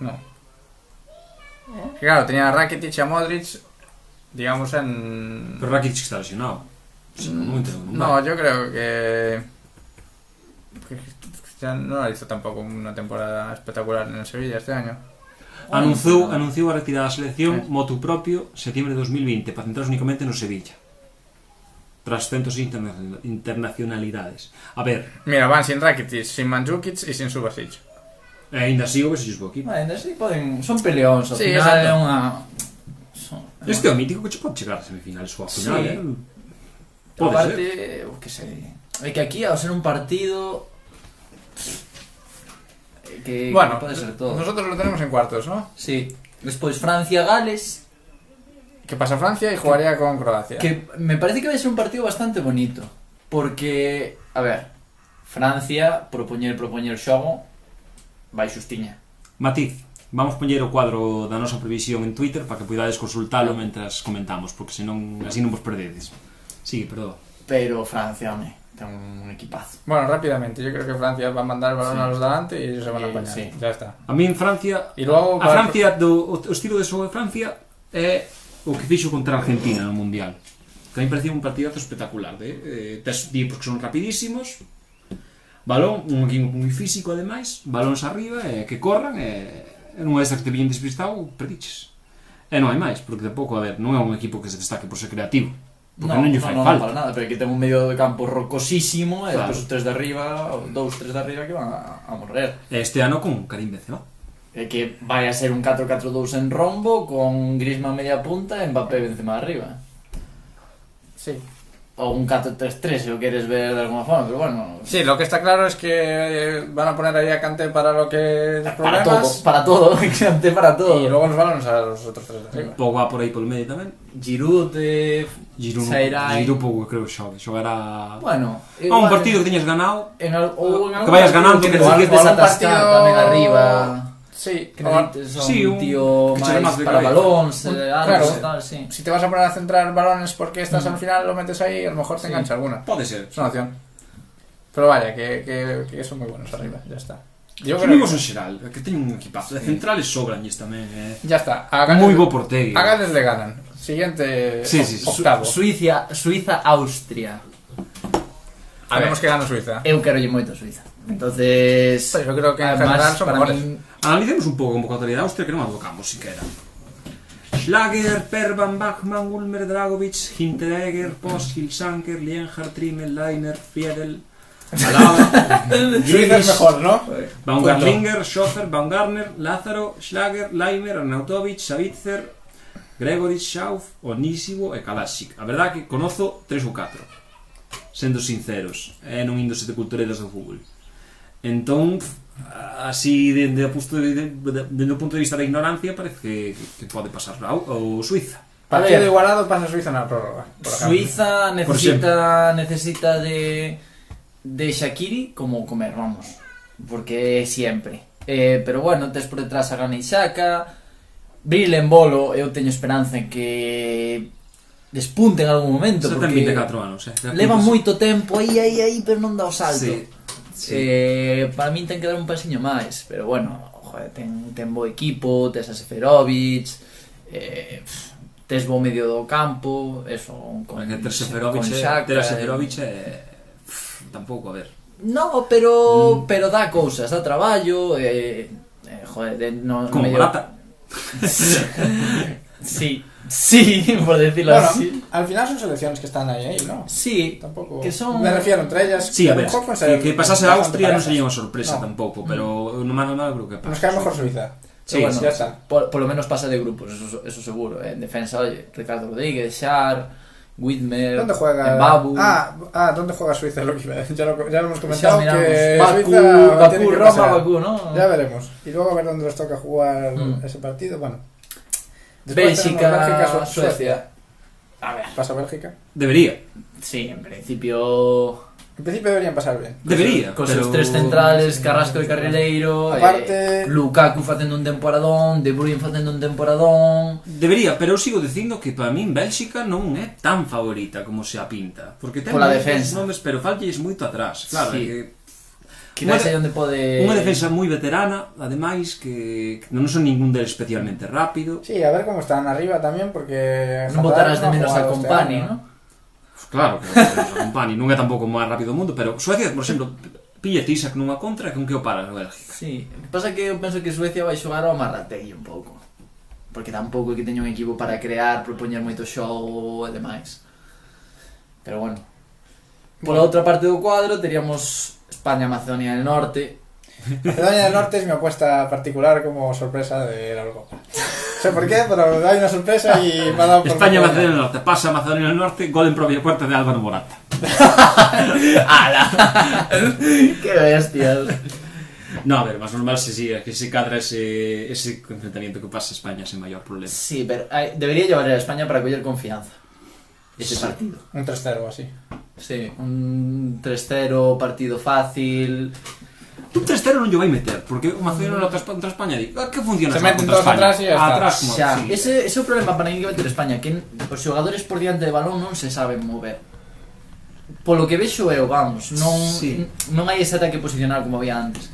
[SPEAKER 1] No.
[SPEAKER 3] ¿Eh?
[SPEAKER 1] Que Claro, tenía a Rakitic y a Modric, digamos, en...
[SPEAKER 2] Pero Rakitic está lesionado. Sí, no, non entendo, non
[SPEAKER 1] No, yo creo que... que Ya no ha hizo tampoco una temporada espectacular en el Sevilla este año.
[SPEAKER 2] Anunciou, anunciou a retirada da selección motu propio setembro de 2020 para centrarse únicamente no Sevilla. Tras centros interna- internacionalidades. A ver,
[SPEAKER 1] Mira, van sin Rakitic, sin Mandzukic y sin Subasic.
[SPEAKER 2] e eh, aínda así o vexo bo equipo.
[SPEAKER 3] Bueno, ainda así entón poden, son peleóns, ao
[SPEAKER 1] Sí,
[SPEAKER 3] final
[SPEAKER 1] exacto.
[SPEAKER 3] é unha... Son,
[SPEAKER 2] Este é o mítico que che pode chegar a semifinales ou a
[SPEAKER 3] Sí.
[SPEAKER 2] final, sí. eh? Pode
[SPEAKER 3] aparte,
[SPEAKER 2] ser.
[SPEAKER 3] o que sei, é que aquí ao ser un partido é que,
[SPEAKER 1] Bueno,
[SPEAKER 3] que pode ser todo.
[SPEAKER 1] nosotros lo tenemos en cuartos, ¿no?
[SPEAKER 3] Sí, despois Francia, Gales,
[SPEAKER 1] Que pasa Francia y jugaría con Croacia.
[SPEAKER 3] Que me parece que va a ser un partido bastante bonito. Porque, a ver, Francia, propoñer, propoñer xogo, vai xustiña.
[SPEAKER 2] Matiz, vamos poñer o cuadro da nosa previsión en Twitter para que poidades consultalo mentras comentamos, porque senón así non vos perdedes. Sigue, perdón.
[SPEAKER 3] Pero Francia, home, ten un equipazo.
[SPEAKER 1] Bueno, rápidamente, yo creo que Francia va a mandar el balón
[SPEAKER 3] Sí.
[SPEAKER 1] a los de adelante y ellos se van a
[SPEAKER 3] Eh,
[SPEAKER 1] apañar.
[SPEAKER 3] sí.
[SPEAKER 1] Ya está.
[SPEAKER 2] A mí en Francia,
[SPEAKER 1] E logo
[SPEAKER 2] a
[SPEAKER 1] para-
[SPEAKER 2] Francia do, o, o estilo de xogo de Francia é o que fixo contra a Argentina no Mundial. Que a mí parecía un partidazo espectacular, de eh, tes tipos que son rapidísimos, balón, un equipo moi físico ademais, balóns arriba, eh, que corran, e eh, non é que te pillen despistado, perdiches. E non hai máis, porque tampouco, a ver, non é un equipo que se destaque por ser creativo. Porque non lle fai
[SPEAKER 3] no,
[SPEAKER 2] falta.
[SPEAKER 3] para nada, pero que ten un medio de campo rocosísimo e
[SPEAKER 2] Claro.
[SPEAKER 3] despois os tres de arriba, os dous, tres de arriba que van a, a morrer.
[SPEAKER 2] E Este ano con Karim Benzema.
[SPEAKER 3] E que vai a ser un 4-4-2 en rombo con Griezmann media punta e Mbappé Benzema arriba.
[SPEAKER 1] Sí.
[SPEAKER 3] o un 4-3-3 si lo quieres ver de alguna forma, pero bueno.
[SPEAKER 1] Sí, lo que está claro es que van a poner ahí a Kanté para lo que los
[SPEAKER 3] Para todo,
[SPEAKER 1] problemas
[SPEAKER 3] para todo, Kanté para
[SPEAKER 1] y
[SPEAKER 3] todo.
[SPEAKER 1] luego nos valones a los otros tres de arriba.
[SPEAKER 2] Pogba por aí por medio tamén.
[SPEAKER 3] Giroud, eh,
[SPEAKER 2] Giroud, non-
[SPEAKER 3] Sairá.
[SPEAKER 2] Giroud pouco, creo que xogue. Xogará...
[SPEAKER 3] Bueno,
[SPEAKER 2] Ah, un
[SPEAKER 3] igual-
[SPEAKER 2] partido que tiñes ganado.
[SPEAKER 3] En al- o en algún
[SPEAKER 2] vayas
[SPEAKER 3] partido
[SPEAKER 2] ganando,
[SPEAKER 3] que
[SPEAKER 2] que
[SPEAKER 3] te
[SPEAKER 2] necesites
[SPEAKER 3] vuelvas a
[SPEAKER 1] un
[SPEAKER 3] atascar
[SPEAKER 1] partido-
[SPEAKER 3] tamén arriba.
[SPEAKER 1] Sí,
[SPEAKER 3] Que
[SPEAKER 1] ahora,
[SPEAKER 3] necesites a
[SPEAKER 2] Ah, Sí,
[SPEAKER 3] un
[SPEAKER 2] un-
[SPEAKER 3] tío
[SPEAKER 2] que sexa
[SPEAKER 3] máis
[SPEAKER 2] máis
[SPEAKER 3] para
[SPEAKER 2] delgado.
[SPEAKER 3] balóns,
[SPEAKER 1] Un-
[SPEAKER 3] eh,
[SPEAKER 1] claro.
[SPEAKER 3] algo, tal, sí.
[SPEAKER 1] si te vas a poner a centrar balones porque estás al final, lo metes ahí y a lo mejor te
[SPEAKER 3] Sí.
[SPEAKER 1] engancha alguna.
[SPEAKER 2] Pode ser.
[SPEAKER 1] Es una opción. Pero vaya, que, que, que son muy buenos arriba, ya está. Yo
[SPEAKER 2] Os
[SPEAKER 1] creo
[SPEAKER 2] amigos
[SPEAKER 1] que,
[SPEAKER 2] en xeral, que teñen un equipazo. De centrales sobranlles tamén, eh.
[SPEAKER 1] ya está.
[SPEAKER 2] Moi bo Portegui.
[SPEAKER 1] Agades le ganan. Siguiente
[SPEAKER 2] Sí, sí, sí.
[SPEAKER 1] octavo.
[SPEAKER 3] Suiza, Suiza, Austria.
[SPEAKER 1] a ver. que gana Suiza.
[SPEAKER 3] Eu quero lle moito a Suiza. Entonces,
[SPEAKER 1] Pues yo creo que en
[SPEAKER 3] además,
[SPEAKER 1] general son
[SPEAKER 3] para
[SPEAKER 1] mejores.
[SPEAKER 3] min-
[SPEAKER 2] Analicemos un pouco a convocatoria de Austria que non advocamos siquera. Schlager, Perban, Bachmann, Ulmer, Dragovic, Hinteregger, Post, Hilsanker, Lienhardt, Trimmel, Leiner, Friedel, Alaba,
[SPEAKER 1] Suiza es mejor, ¿no?
[SPEAKER 2] Baumgartlinger, Schofer, Baumgartner, Lázaro, Schlager, Leimer, Arnautovic, Savitzer, Gregorich, Schauf, Onisivo e Kalasic. A verdad que conozo tres ou catro, sendo sinceros, e non indo sete culturedas do fútbol. Entón, así, dende o punto de, de, dende o punto de vista da ignorancia, parece que, que pode pasar ao, ao Suiza.
[SPEAKER 1] Partido
[SPEAKER 3] ver.
[SPEAKER 1] igualado pasa Suiza en la prórroga. por ejemplo.
[SPEAKER 3] Suiza
[SPEAKER 2] Por
[SPEAKER 3] necesita necesita de de Shakiri como comer, vamos. Porque siempre. Eh, pero bueno, tes por detrás a Gana Isaka, Brilen Bolo, eu teño esperanza en que despunte en algún momento
[SPEAKER 2] Xa ten
[SPEAKER 3] porque
[SPEAKER 2] 24 anos, eh. te
[SPEAKER 3] leva
[SPEAKER 2] apuntas.
[SPEAKER 3] moito tempo aí aí aí, pero non dá o salto.
[SPEAKER 2] Sí, sí.
[SPEAKER 3] Eh, para min ten que dar un pasiño máis, pero bueno, joder, ten, ten bo equipo, tes a Seferovic, eh, pff, tes bo medio do campo, eso, con,
[SPEAKER 2] Porque ter Seferovic,
[SPEAKER 3] con
[SPEAKER 2] e-
[SPEAKER 3] Xhaka,
[SPEAKER 2] ter a Seferovic, eh, pff, tampouco, a ver.
[SPEAKER 3] No,
[SPEAKER 2] Mm.
[SPEAKER 3] pero, pero dá cousas, dá traballo, eh, eh, joder, de, no,
[SPEAKER 2] Como
[SPEAKER 3] medio-
[SPEAKER 2] Morata.
[SPEAKER 3] sí, sí, por decirlo
[SPEAKER 1] Bueno,
[SPEAKER 3] así.
[SPEAKER 1] al final son selecciones que están ahí, ahí, ¿no?
[SPEAKER 3] Sí,
[SPEAKER 1] Tampoco.
[SPEAKER 3] Que son-
[SPEAKER 1] Me refiero entre ellas.
[SPEAKER 2] Sí, a ver,
[SPEAKER 1] mejor pueden
[SPEAKER 2] que,
[SPEAKER 1] ser
[SPEAKER 2] que pasase a
[SPEAKER 1] bastante
[SPEAKER 2] Austria non
[SPEAKER 1] parejas.
[SPEAKER 2] sería unha sorpresa
[SPEAKER 1] No. Mm.
[SPEAKER 2] tampouco, pero no mano a mano creo que pasa.
[SPEAKER 1] Nos cae mejor Suiza.
[SPEAKER 2] Sí,
[SPEAKER 3] Pero bueno,
[SPEAKER 1] ya está.
[SPEAKER 3] Por, por lo menos pasa de grupos, eso, eso seguro. eh. En defensa, oye, Ricardo Rodríguez, Shar, Widmer,
[SPEAKER 1] ¿Dónde juega?
[SPEAKER 3] Mbabu,
[SPEAKER 1] Ah, ah, ¿dónde juega Suiza? Lo que iba a decir. Ya, lo, ya lo hemos
[SPEAKER 3] ya
[SPEAKER 1] comentado.
[SPEAKER 3] miramos.
[SPEAKER 1] que
[SPEAKER 3] Bakú,
[SPEAKER 1] Suiza tiene
[SPEAKER 3] Bakú,
[SPEAKER 1] que
[SPEAKER 3] Roma,
[SPEAKER 1] pasar.
[SPEAKER 3] Bakú, ¿no?
[SPEAKER 1] Ya veremos. Y luego a ver dónde les toca jugar
[SPEAKER 3] Mm.
[SPEAKER 1] ese partido. Bueno. Después
[SPEAKER 3] Bélgica,
[SPEAKER 1] tenemos Bélgica, Su-
[SPEAKER 3] Suecia. A ver,
[SPEAKER 1] Pasa Bélgica.
[SPEAKER 2] Debería,
[SPEAKER 3] sí, en principio.
[SPEAKER 1] En principio deberían pasar bien.
[SPEAKER 2] debería.
[SPEAKER 3] Con
[SPEAKER 2] pero...
[SPEAKER 3] sus tres centrales, Carrasco e Carrileiro,
[SPEAKER 1] Aparte-
[SPEAKER 3] eh, Lukaku facendo un temporadón, De Bruyne facendo un temporadón.
[SPEAKER 2] Debería, pero eu sigo dicindo que para min Bélxica non é tan favorita como se apinta. Porque ten
[SPEAKER 3] Pola
[SPEAKER 2] moitos
[SPEAKER 3] defensa.
[SPEAKER 2] nomes, pero falles moito atrás. Claro, é
[SPEAKER 3] Sí.
[SPEAKER 2] que
[SPEAKER 3] Que
[SPEAKER 2] Unha
[SPEAKER 3] vais
[SPEAKER 2] de-
[SPEAKER 3] aí onde pode
[SPEAKER 2] unha defensa moi veterana, ademais, que, que non son ningún deles especialmente rápido.
[SPEAKER 1] Sí, a ver cómo están arriba también, porque.
[SPEAKER 3] Non botarás de menos a
[SPEAKER 1] este
[SPEAKER 3] Company, ¿no?
[SPEAKER 2] Claro que o Company non é tampouco o máis rápido do mundo, pero Suecia, por exemplo, pilla Tisak nunha contra con que o para a Bélgica.
[SPEAKER 3] Sí, o que pasa é que eu penso que Suecia vai xogar ao Marratei un pouco. Porque tampouco é que teña un equipo para crear, propoñer moito xogo e demais. Pero bueno. Pola outra parte do cuadro teríamos España, Macedonia del Norte.
[SPEAKER 1] Macedonia del Norte es mi apuesta particular como sorpresa de la Eurocopa. No sé por qué, pero hay una sorpresa y me ha dado por.
[SPEAKER 2] España, Macedonia del Norte, pasa a Macedonia del Norte, gol en propia puerta de Álvaro Morata.
[SPEAKER 3] que bestias.
[SPEAKER 2] No, a ver, más normal se siga, que se cadra ese, ese enfrentamiento que pasa España sin mayor problema.
[SPEAKER 3] Sí, pero eh, debería llevar a España para coller confianza. Ese
[SPEAKER 2] Sí.
[SPEAKER 3] partido.
[SPEAKER 1] Un 3-0 o así.
[SPEAKER 3] Sí, un 3-0, partido fácil.
[SPEAKER 2] Un 3-0 non lle vai meter, porque o Macedonia contra Espa- contra España di, ah, que funciona
[SPEAKER 1] Se
[SPEAKER 2] esa
[SPEAKER 1] meten
[SPEAKER 2] contra
[SPEAKER 1] todos
[SPEAKER 2] España?
[SPEAKER 1] atrás e ya está.
[SPEAKER 2] Atrás, como,
[SPEAKER 3] Xa,
[SPEAKER 2] sí.
[SPEAKER 3] ese, ese é o problema para mí que vai ter España Que os xogadores por diante de balón non se saben mover Polo que vexo eu, vamos Non,
[SPEAKER 2] Sí.
[SPEAKER 3] non hai ese ataque posicional como había antes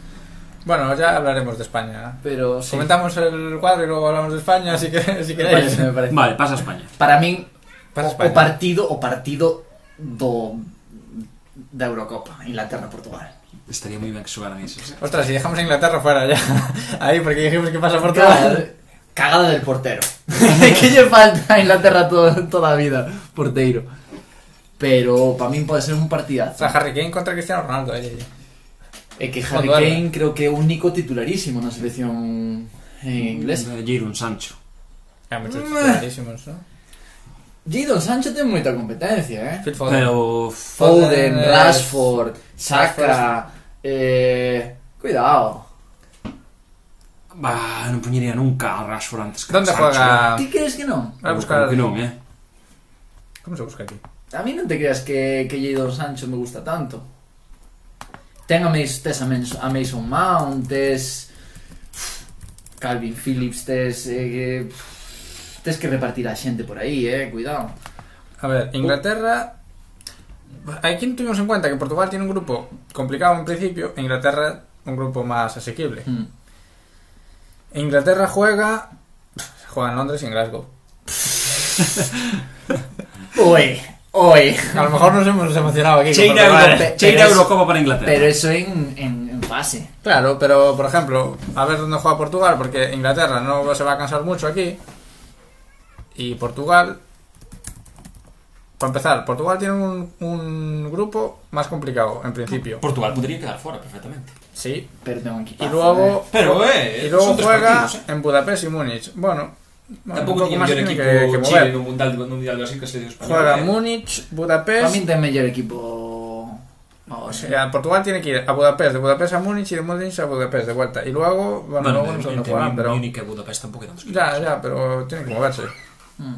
[SPEAKER 1] Bueno, ya hablaremos de España.
[SPEAKER 3] Pero sí,
[SPEAKER 1] Comentamos el cuadro y luego hablamos de España, así que si
[SPEAKER 3] me parece, me parece.
[SPEAKER 2] Vale, pasa España.
[SPEAKER 3] Para min
[SPEAKER 1] Para
[SPEAKER 3] o, o
[SPEAKER 1] España.
[SPEAKER 3] partido O partido do Da Eurocopa, Inglaterra-Portugal
[SPEAKER 2] Estaría moi ben que xogaran esos.
[SPEAKER 1] Ostras, si dejamos a Inglaterra fuera ya. Ahí, porque dijimos que pasa
[SPEAKER 3] Cagada,
[SPEAKER 1] Portugal.
[SPEAKER 3] cagada del portero Que lle falta a Inglaterra to, toda a vida Porteiro Pero para min pode ser
[SPEAKER 1] O
[SPEAKER 3] un partidazo
[SPEAKER 1] sea, Harry Kane contra Cristiano Ronaldo. ahí, ahí.
[SPEAKER 3] É que Harry
[SPEAKER 1] Cuando
[SPEAKER 3] Kane creo que é o único titularísimo na selección eh, inglesa.
[SPEAKER 2] Giron, Sancho.
[SPEAKER 3] Mm.
[SPEAKER 1] Hay muchos titularísimos, ¿no?
[SPEAKER 3] Jadon Sancho ten moita competencia, eh?
[SPEAKER 1] Phil Foden.
[SPEAKER 2] Pero.
[SPEAKER 3] Foden,
[SPEAKER 1] eh,
[SPEAKER 3] Rashford, Saka, eh, cuidado.
[SPEAKER 2] Bah, non poñería nunca a Rashford antes que
[SPEAKER 1] ¿Dónde
[SPEAKER 2] a Sancho, eh.
[SPEAKER 1] juega?
[SPEAKER 3] Ti crees que non?
[SPEAKER 1] Voy a
[SPEAKER 2] Eu
[SPEAKER 1] buscar.
[SPEAKER 2] creo que non, eh.
[SPEAKER 1] ¿Cómo se busca aquí?
[SPEAKER 3] A mí non te creas que, que Jadon Sancho me gusta tanto. Ten a, Mason, tes a, Mens- a Mason Mount, tes Calvin Phillips, tes... Eh, que- tes que repartir a xente por aí, eh? Cuidado.
[SPEAKER 1] A ver, Inglaterra. Aquí tuvimos en cuenta que Portugal tiene un grupo complicado en principio, e Inglaterra un grupo más asequible.
[SPEAKER 3] Hmm.
[SPEAKER 1] Inglaterra juega. Juega en Londres y en Glasgow.
[SPEAKER 3] Oe, oe.
[SPEAKER 1] A lo mejor nos hemos emocionado aquí. con
[SPEAKER 2] Cheira,
[SPEAKER 1] Portugal.
[SPEAKER 2] Euro,
[SPEAKER 3] pero-
[SPEAKER 2] cheira
[SPEAKER 3] pero es-
[SPEAKER 2] Eurocopa para Inglaterra.
[SPEAKER 3] Pero eso en, en, en fase.
[SPEAKER 1] Claro, pero por ejemplo, a ver dónde juega Portugal, porque Inglaterra no se va a cansar mucho aquí. Y Portugal. Para empezar, Portugal tiene un, un grupo más complicado en principio.
[SPEAKER 2] Portugal podría quedar fora perfectamente.
[SPEAKER 1] Sí.
[SPEAKER 3] Pero tengo aquí.
[SPEAKER 1] Y luego.
[SPEAKER 6] Pero, eh,
[SPEAKER 1] Y luego
[SPEAKER 6] son tres
[SPEAKER 1] juega
[SPEAKER 6] partidos, eh.
[SPEAKER 1] en Budapest y Múnich. Bueno,
[SPEAKER 6] Tampouco
[SPEAKER 1] bueno, un poco
[SPEAKER 6] tiña
[SPEAKER 1] más
[SPEAKER 6] mellor
[SPEAKER 1] tiene
[SPEAKER 6] equipo
[SPEAKER 1] que, que
[SPEAKER 6] Chile
[SPEAKER 1] mover.
[SPEAKER 6] no Mundial, no mundial de Brasil que se dio España.
[SPEAKER 1] Juega
[SPEAKER 6] eh.
[SPEAKER 1] Múnich,
[SPEAKER 3] Para
[SPEAKER 1] Budapest.
[SPEAKER 3] min ten mellor equipo
[SPEAKER 1] O
[SPEAKER 3] ahora.
[SPEAKER 1] sea, Portugal tiene que ir a Budapest, de Budapest a Múnich y de Múnich a Budapest de vuelta. Y luego, bueno, luego no sé dónde juegan, pero.
[SPEAKER 6] Múnich e Budapest tampouco eran dos
[SPEAKER 1] Ya, ya, pero tiene que moverse.
[SPEAKER 3] Mm.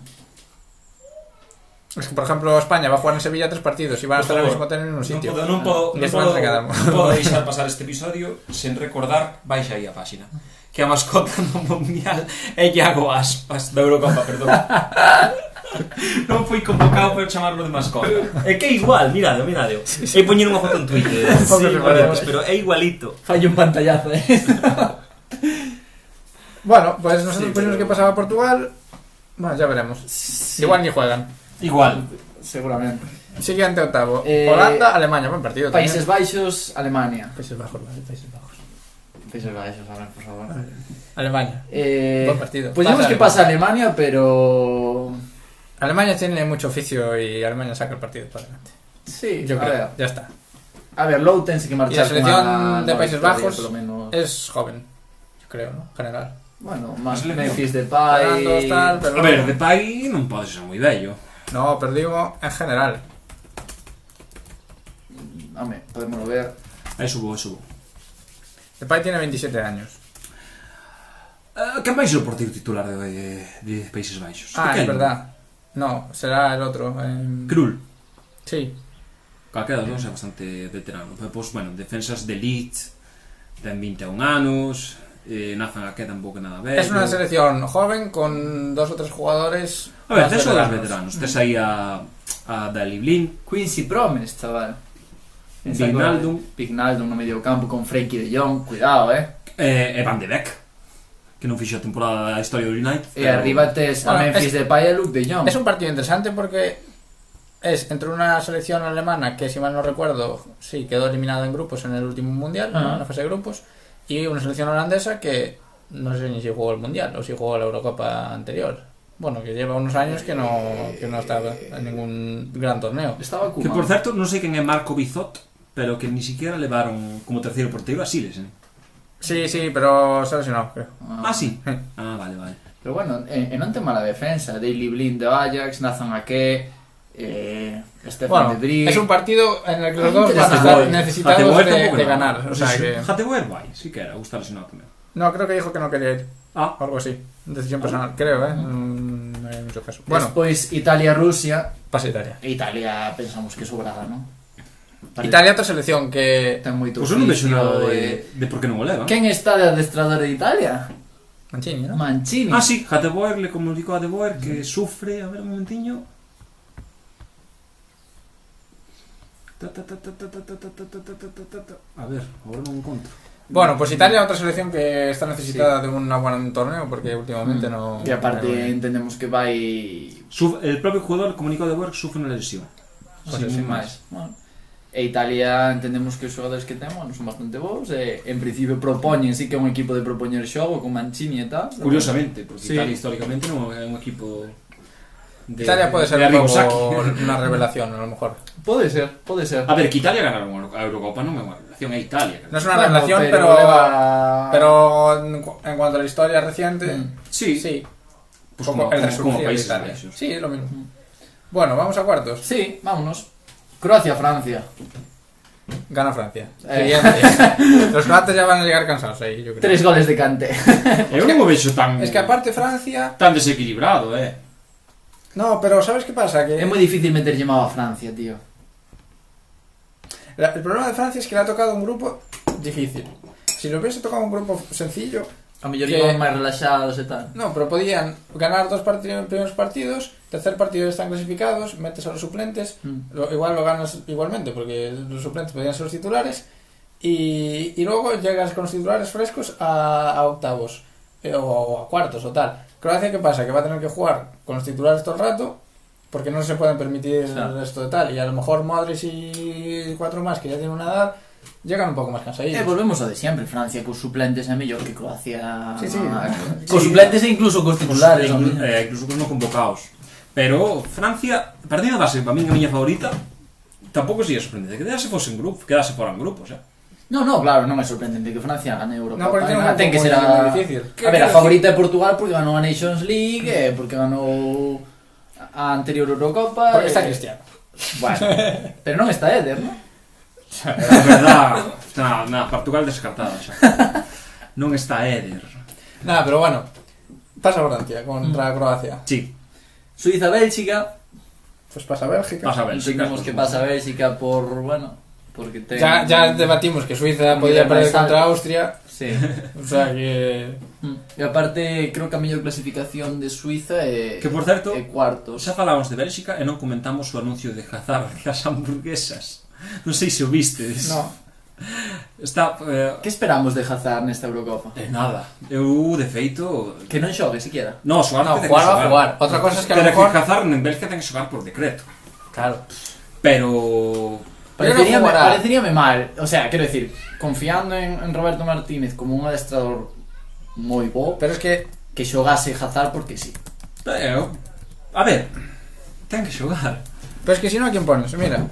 [SPEAKER 1] Es que, por ejemplo, España va a jugar en Sevilla tres partidos y van a
[SPEAKER 6] Por
[SPEAKER 1] estar al
[SPEAKER 6] favor,
[SPEAKER 1] mismo tiempo en un sitio.
[SPEAKER 6] Non podo, non podo,
[SPEAKER 1] Y
[SPEAKER 6] non
[SPEAKER 1] España
[SPEAKER 6] podo,
[SPEAKER 1] se queda-
[SPEAKER 6] non podo deixar pasar este episodio sen recordar, baixa aí a páxina, que a mascota do Mundial é Iago Aspas, da Eurocopa, perdón. non foi convocado para chamarlo de mascota. É que é igual, mirade, mirade. E poñer unha foto en Twitter.
[SPEAKER 1] Pouco
[SPEAKER 6] sí,
[SPEAKER 1] se parece.
[SPEAKER 6] pero é igualito.
[SPEAKER 3] Fallo un pantallazo, eh.
[SPEAKER 1] Bueno, pues nosotros
[SPEAKER 6] Sí,
[SPEAKER 1] pusimos
[SPEAKER 6] pero-
[SPEAKER 1] que pasaba a Portugal. Bueno, ya veremos. Igual ni juegan.
[SPEAKER 2] Igual.
[SPEAKER 3] Seguramente.
[SPEAKER 1] Siguiente octavo.
[SPEAKER 3] Eh,
[SPEAKER 1] Holanda, Alemania. Buen partido. también.
[SPEAKER 3] Países Baixos, Alemania.
[SPEAKER 1] Países Bajos, vale, Países Bajos.
[SPEAKER 3] Países Baixos, a ver, por favor.
[SPEAKER 1] Alemania.
[SPEAKER 3] Eh,
[SPEAKER 1] Buen partido.
[SPEAKER 3] Podríamos
[SPEAKER 1] Pasa Alemania.
[SPEAKER 3] que pasa Alemania, pero...
[SPEAKER 1] Alemania tiene mucho oficio y Alemania saca el partido para adelante.
[SPEAKER 3] Sí,
[SPEAKER 1] Yo
[SPEAKER 3] a
[SPEAKER 1] creo.
[SPEAKER 3] ver.
[SPEAKER 1] Ya está.
[SPEAKER 3] A ver, Low tense que marchar
[SPEAKER 1] Y la selección
[SPEAKER 3] cunha
[SPEAKER 1] de
[SPEAKER 3] nova
[SPEAKER 1] Países
[SPEAKER 3] victoria,
[SPEAKER 1] Bajos Eh,
[SPEAKER 3] polo menos.
[SPEAKER 1] Es joven, yo creo, ¿no? General.
[SPEAKER 3] Bueno, más
[SPEAKER 2] selección.
[SPEAKER 3] Memphis Depay...
[SPEAKER 1] Fernandos, tal, pero-
[SPEAKER 2] A ver, de Pai non pode ser moi bello.
[SPEAKER 1] No, pero digo en general.
[SPEAKER 3] Home, podemos ver.
[SPEAKER 2] Aí subo, aí subo.
[SPEAKER 1] Depay tiene 27 años.
[SPEAKER 6] Eh,
[SPEAKER 2] Uh, quen vai ser o porteiro titular de, de, de Países Baixos?
[SPEAKER 1] Ah,
[SPEAKER 2] Pequeno.
[SPEAKER 1] es verdad. No, será el otro. em,
[SPEAKER 2] Krul.
[SPEAKER 1] Sí.
[SPEAKER 2] Calquera dos é bastante veterano. Pero, pois, bueno, defensas de elite, ten 21 anos, eh, Nathan Ake tampouco é nada bello.
[SPEAKER 1] Es
[SPEAKER 3] Eh,
[SPEAKER 1] una selección joven con dos o tres jugadores.
[SPEAKER 2] A ver,
[SPEAKER 1] más
[SPEAKER 2] tes o dos
[SPEAKER 1] veteranos.
[SPEAKER 2] veteranos. Tes aí a, a Dali Blin,
[SPEAKER 3] Quincy Promes, chaval.
[SPEAKER 2] Wijnaldum.
[SPEAKER 3] Pignaldum no medio campo con Frenkie de Jong. Cuidado, eh.
[SPEAKER 2] eh, e Van de Beek, que non fixo a temporada da historia do United.
[SPEAKER 3] E arriba tes a
[SPEAKER 1] Bueno,
[SPEAKER 3] Memphis
[SPEAKER 1] es-
[SPEAKER 3] Depay e Luke de Jong.
[SPEAKER 1] Es un partido interesante porque es entre una selección alemana que, si mal no recuerdo, sí, quedó eliminada en grupos en el último mundial, ¿no?
[SPEAKER 3] Ajá.
[SPEAKER 1] en la fase de grupos, y una selección holandesa que no sé ni si jugó el mundial o si jugó la Eurocopa anterior. Bueno, que lleva unos años que no, que no estaba en ningún gran torneo.
[SPEAKER 3] Estaba Koeman.
[SPEAKER 2] Que, por certo, non sei quen é Marco Bizot, pero que ni siquiera levaron como terceiro porteiro a Siles, eh?
[SPEAKER 1] Sí, sí, pero se ha lesionado, creo.
[SPEAKER 2] Ah, sí. Ah, vale, vale.
[SPEAKER 3] Pero bueno, e, e non ten mala defensa. Daily Blind do Ajax, Nathan Ake, eh, Stefan
[SPEAKER 1] Bueno,
[SPEAKER 3] de Vrij...
[SPEAKER 1] es un partido en el que los
[SPEAKER 3] Ah,
[SPEAKER 1] dos van a
[SPEAKER 3] interesante.
[SPEAKER 1] estar necesitados
[SPEAKER 2] Hatebuer
[SPEAKER 1] de,
[SPEAKER 2] tampouco
[SPEAKER 1] de
[SPEAKER 2] era malo.
[SPEAKER 1] ganar. O sea
[SPEAKER 2] Sí, sí.
[SPEAKER 1] que...
[SPEAKER 2] Hatebuer vai, si que era, gustar lesionado tamén.
[SPEAKER 1] No, creo que dijo que no quería ir.
[SPEAKER 2] Ah,
[SPEAKER 1] O algo así. Decisión personal, creo, ¿eh? Mm, No hay mucho caso. Bueno,
[SPEAKER 3] Despois Italia-Rusia.
[SPEAKER 1] pasa Italia.
[SPEAKER 3] Italia pensamos que sobrada, non? Vale.
[SPEAKER 1] Italia, otra selección que.
[SPEAKER 3] Ten moito
[SPEAKER 2] pois eu non vexo
[SPEAKER 3] oficio
[SPEAKER 2] nada
[SPEAKER 3] e-
[SPEAKER 2] Pues eh, de, de por que non o levan.
[SPEAKER 3] Quen está de adestrador de Italia?
[SPEAKER 1] Mancini, ¿no?
[SPEAKER 3] Mancini.
[SPEAKER 2] Ah, sí, Hateboer le comunicó a De Boer que sufre. A ver, un momentiño. Ta, ta, ta, ta, ta, ta, ta, ta, ta, ta, ta, ta, ta, ta. A ver, ahora no encontro.
[SPEAKER 1] Bueno, pues Italia, otra selección que está necesitada de un buen torneo porque últimamente no.
[SPEAKER 3] E Mm. aparte
[SPEAKER 1] no-
[SPEAKER 3] entendemos que vai
[SPEAKER 2] Suf- el propio jugador comunicó a De Boer que sufre una lesión.
[SPEAKER 3] Pois
[SPEAKER 1] Sin
[SPEAKER 3] sin, sin
[SPEAKER 1] máis.
[SPEAKER 3] máis. Bueno. E Italia entendemos que os xogadores que ten, bueno, son bastante bons e en principio propoñen, sí que é un equipo de propoñer xogo con Mancini e tal.
[SPEAKER 2] Curiosamente, porque
[SPEAKER 1] Sí.
[SPEAKER 2] Italia históricamente no es un equipo de.
[SPEAKER 1] Italia puede ser
[SPEAKER 2] de
[SPEAKER 1] un
[SPEAKER 2] Arrigosaki.
[SPEAKER 1] poco una revelación, a lo mejor.
[SPEAKER 3] Pode ser, pode ser.
[SPEAKER 2] A ver, que Italia ganaron a Eurocopa, no me una relación, es Italia.
[SPEAKER 1] No es una
[SPEAKER 3] Bueno,
[SPEAKER 1] revelación, pero.
[SPEAKER 3] leva-
[SPEAKER 1] Pero en cu- en cuanto a la historia reciente,
[SPEAKER 3] Mm.
[SPEAKER 2] Sí,
[SPEAKER 1] sí.
[SPEAKER 2] pues
[SPEAKER 1] como, el
[SPEAKER 2] como
[SPEAKER 1] resurgir de
[SPEAKER 2] países
[SPEAKER 1] Italia.
[SPEAKER 2] baixos.
[SPEAKER 1] Sí, es lo mismo. Bueno, vamos a cuartos.
[SPEAKER 3] Sí, vámonos. Croacia-Francia.
[SPEAKER 1] Gana Francia.
[SPEAKER 3] Eh.
[SPEAKER 1] Siguiente. Los croatas ya van a llegar cansados ahí, yo creo.
[SPEAKER 3] Tres goles de Kanté.
[SPEAKER 2] Eu non o vexo tan
[SPEAKER 1] Es que aparte Francia...
[SPEAKER 2] tan desequilibrado, eh.
[SPEAKER 1] No, pero ¿sabes qué pasa? Que
[SPEAKER 3] es muy difícil meter llamado a Francia, tío.
[SPEAKER 1] la- el problema de Francia es que le ha tocado un grupo difícil. Si lo hubiese tocado un grupo sencillo,
[SPEAKER 3] A
[SPEAKER 1] mellor
[SPEAKER 3] mellor
[SPEAKER 1] iban
[SPEAKER 3] iban máis relaxados e tal.
[SPEAKER 1] No, pero podían ganar dos partidos, primeros partidos, tercer partido ya están clasificados, metes a los suplentes,
[SPEAKER 3] Mm.
[SPEAKER 1] lo- igual lo ganas igualmente, porque los suplentes podían ser los titulares, y, y luego llegas con los titulares frescos a, a octavos, eh, o, o a cuartos, o tal. Croacia, ¿qué pasa? Que va a tener que jugar con los titulares todo el rato, porque no se pueden permitir
[SPEAKER 3] Claro.
[SPEAKER 1] el resto de tal, y a lo mejor Modric y cuatro más que ya tienen una edad, llegan un poco más
[SPEAKER 3] E
[SPEAKER 1] cansaditos.
[SPEAKER 3] Eh, volvemos ao de sempre, Francia cos suplentes é mellor que Croacia.
[SPEAKER 1] Sí, sí.
[SPEAKER 3] Cos
[SPEAKER 1] Sí.
[SPEAKER 3] suplentes e incluso cos titulares.
[SPEAKER 2] Inclu-
[SPEAKER 3] hombre.
[SPEAKER 2] eh, incluso cos non convocados. Pero Francia, partido de base, para min a miña favorita, tampouco sería sorprendente. Quedase fose en grupo, quedase fora en grupo, xa.
[SPEAKER 3] No, no, claro, non é sorprendente que Francia gane a Europa.
[SPEAKER 1] No, porque tiene un
[SPEAKER 3] Ah, ten
[SPEAKER 1] grupo
[SPEAKER 3] que
[SPEAKER 1] muy-
[SPEAKER 3] ser
[SPEAKER 1] muy
[SPEAKER 3] a...
[SPEAKER 1] difícil.
[SPEAKER 3] A ver, a favorita é Portugal porque ganou a Nations League, eh, porque ganou a anterior Eurocopa.
[SPEAKER 1] Porque
[SPEAKER 3] eh,
[SPEAKER 1] está Cristiano.
[SPEAKER 3] Bueno, pero non está Eder, non?
[SPEAKER 2] A verdad, na, na Portugal descartada xa. Non está Éder.
[SPEAKER 1] Nada, pero bueno, pasa Francia contra
[SPEAKER 3] Mm.
[SPEAKER 1] Croacia.
[SPEAKER 2] Sí,
[SPEAKER 3] Suiza-Bélxica.
[SPEAKER 1] Pues pasa Bélgica.
[SPEAKER 2] pasa ben.
[SPEAKER 3] Entendemos que pasa Bélxica por, bueno, porque ten...
[SPEAKER 1] Ya, ya debatimos que Suiza
[SPEAKER 3] Un
[SPEAKER 1] podía
[SPEAKER 3] nivel
[SPEAKER 1] perder
[SPEAKER 3] más alto.
[SPEAKER 1] contra Austria.
[SPEAKER 3] Sí.
[SPEAKER 1] O sea que.
[SPEAKER 3] Mm. E aparte, creo que a mellor clasificación de Suiza é...
[SPEAKER 2] Que por certo,
[SPEAKER 3] é cuarto.
[SPEAKER 2] xa falamos de Bélxica e non comentamos o anuncio de Hazard das hamburguesas. Non sei se o vistes.
[SPEAKER 1] No.
[SPEAKER 2] Está eh,
[SPEAKER 3] Que esperamos de Hazard nesta Eurocopa?
[SPEAKER 2] eh, nada. Eu de feito
[SPEAKER 3] Que non xogue siquiera.
[SPEAKER 2] No, xogar
[SPEAKER 1] No,
[SPEAKER 2] ten que
[SPEAKER 1] jugar va a
[SPEAKER 2] xogar.
[SPEAKER 1] jugar. Otra cosa es que a lo
[SPEAKER 2] Pero
[SPEAKER 1] mejor-
[SPEAKER 2] que Hazard en Bélgica ten que xogar por decreto.
[SPEAKER 1] Claro.
[SPEAKER 2] Pero...
[SPEAKER 1] Pero no
[SPEAKER 3] Pareceríame,
[SPEAKER 1] jugará.
[SPEAKER 3] pareceríame mal. O sea, quero decir, confiando en, en Roberto Martínez como un adestrador moi bo,
[SPEAKER 1] Pero es que.
[SPEAKER 3] que xogase Hazard porque sí.
[SPEAKER 2] Pero... A ver, ten que xogar.
[SPEAKER 1] Pero es que si no, ¿a quién pones? Mira.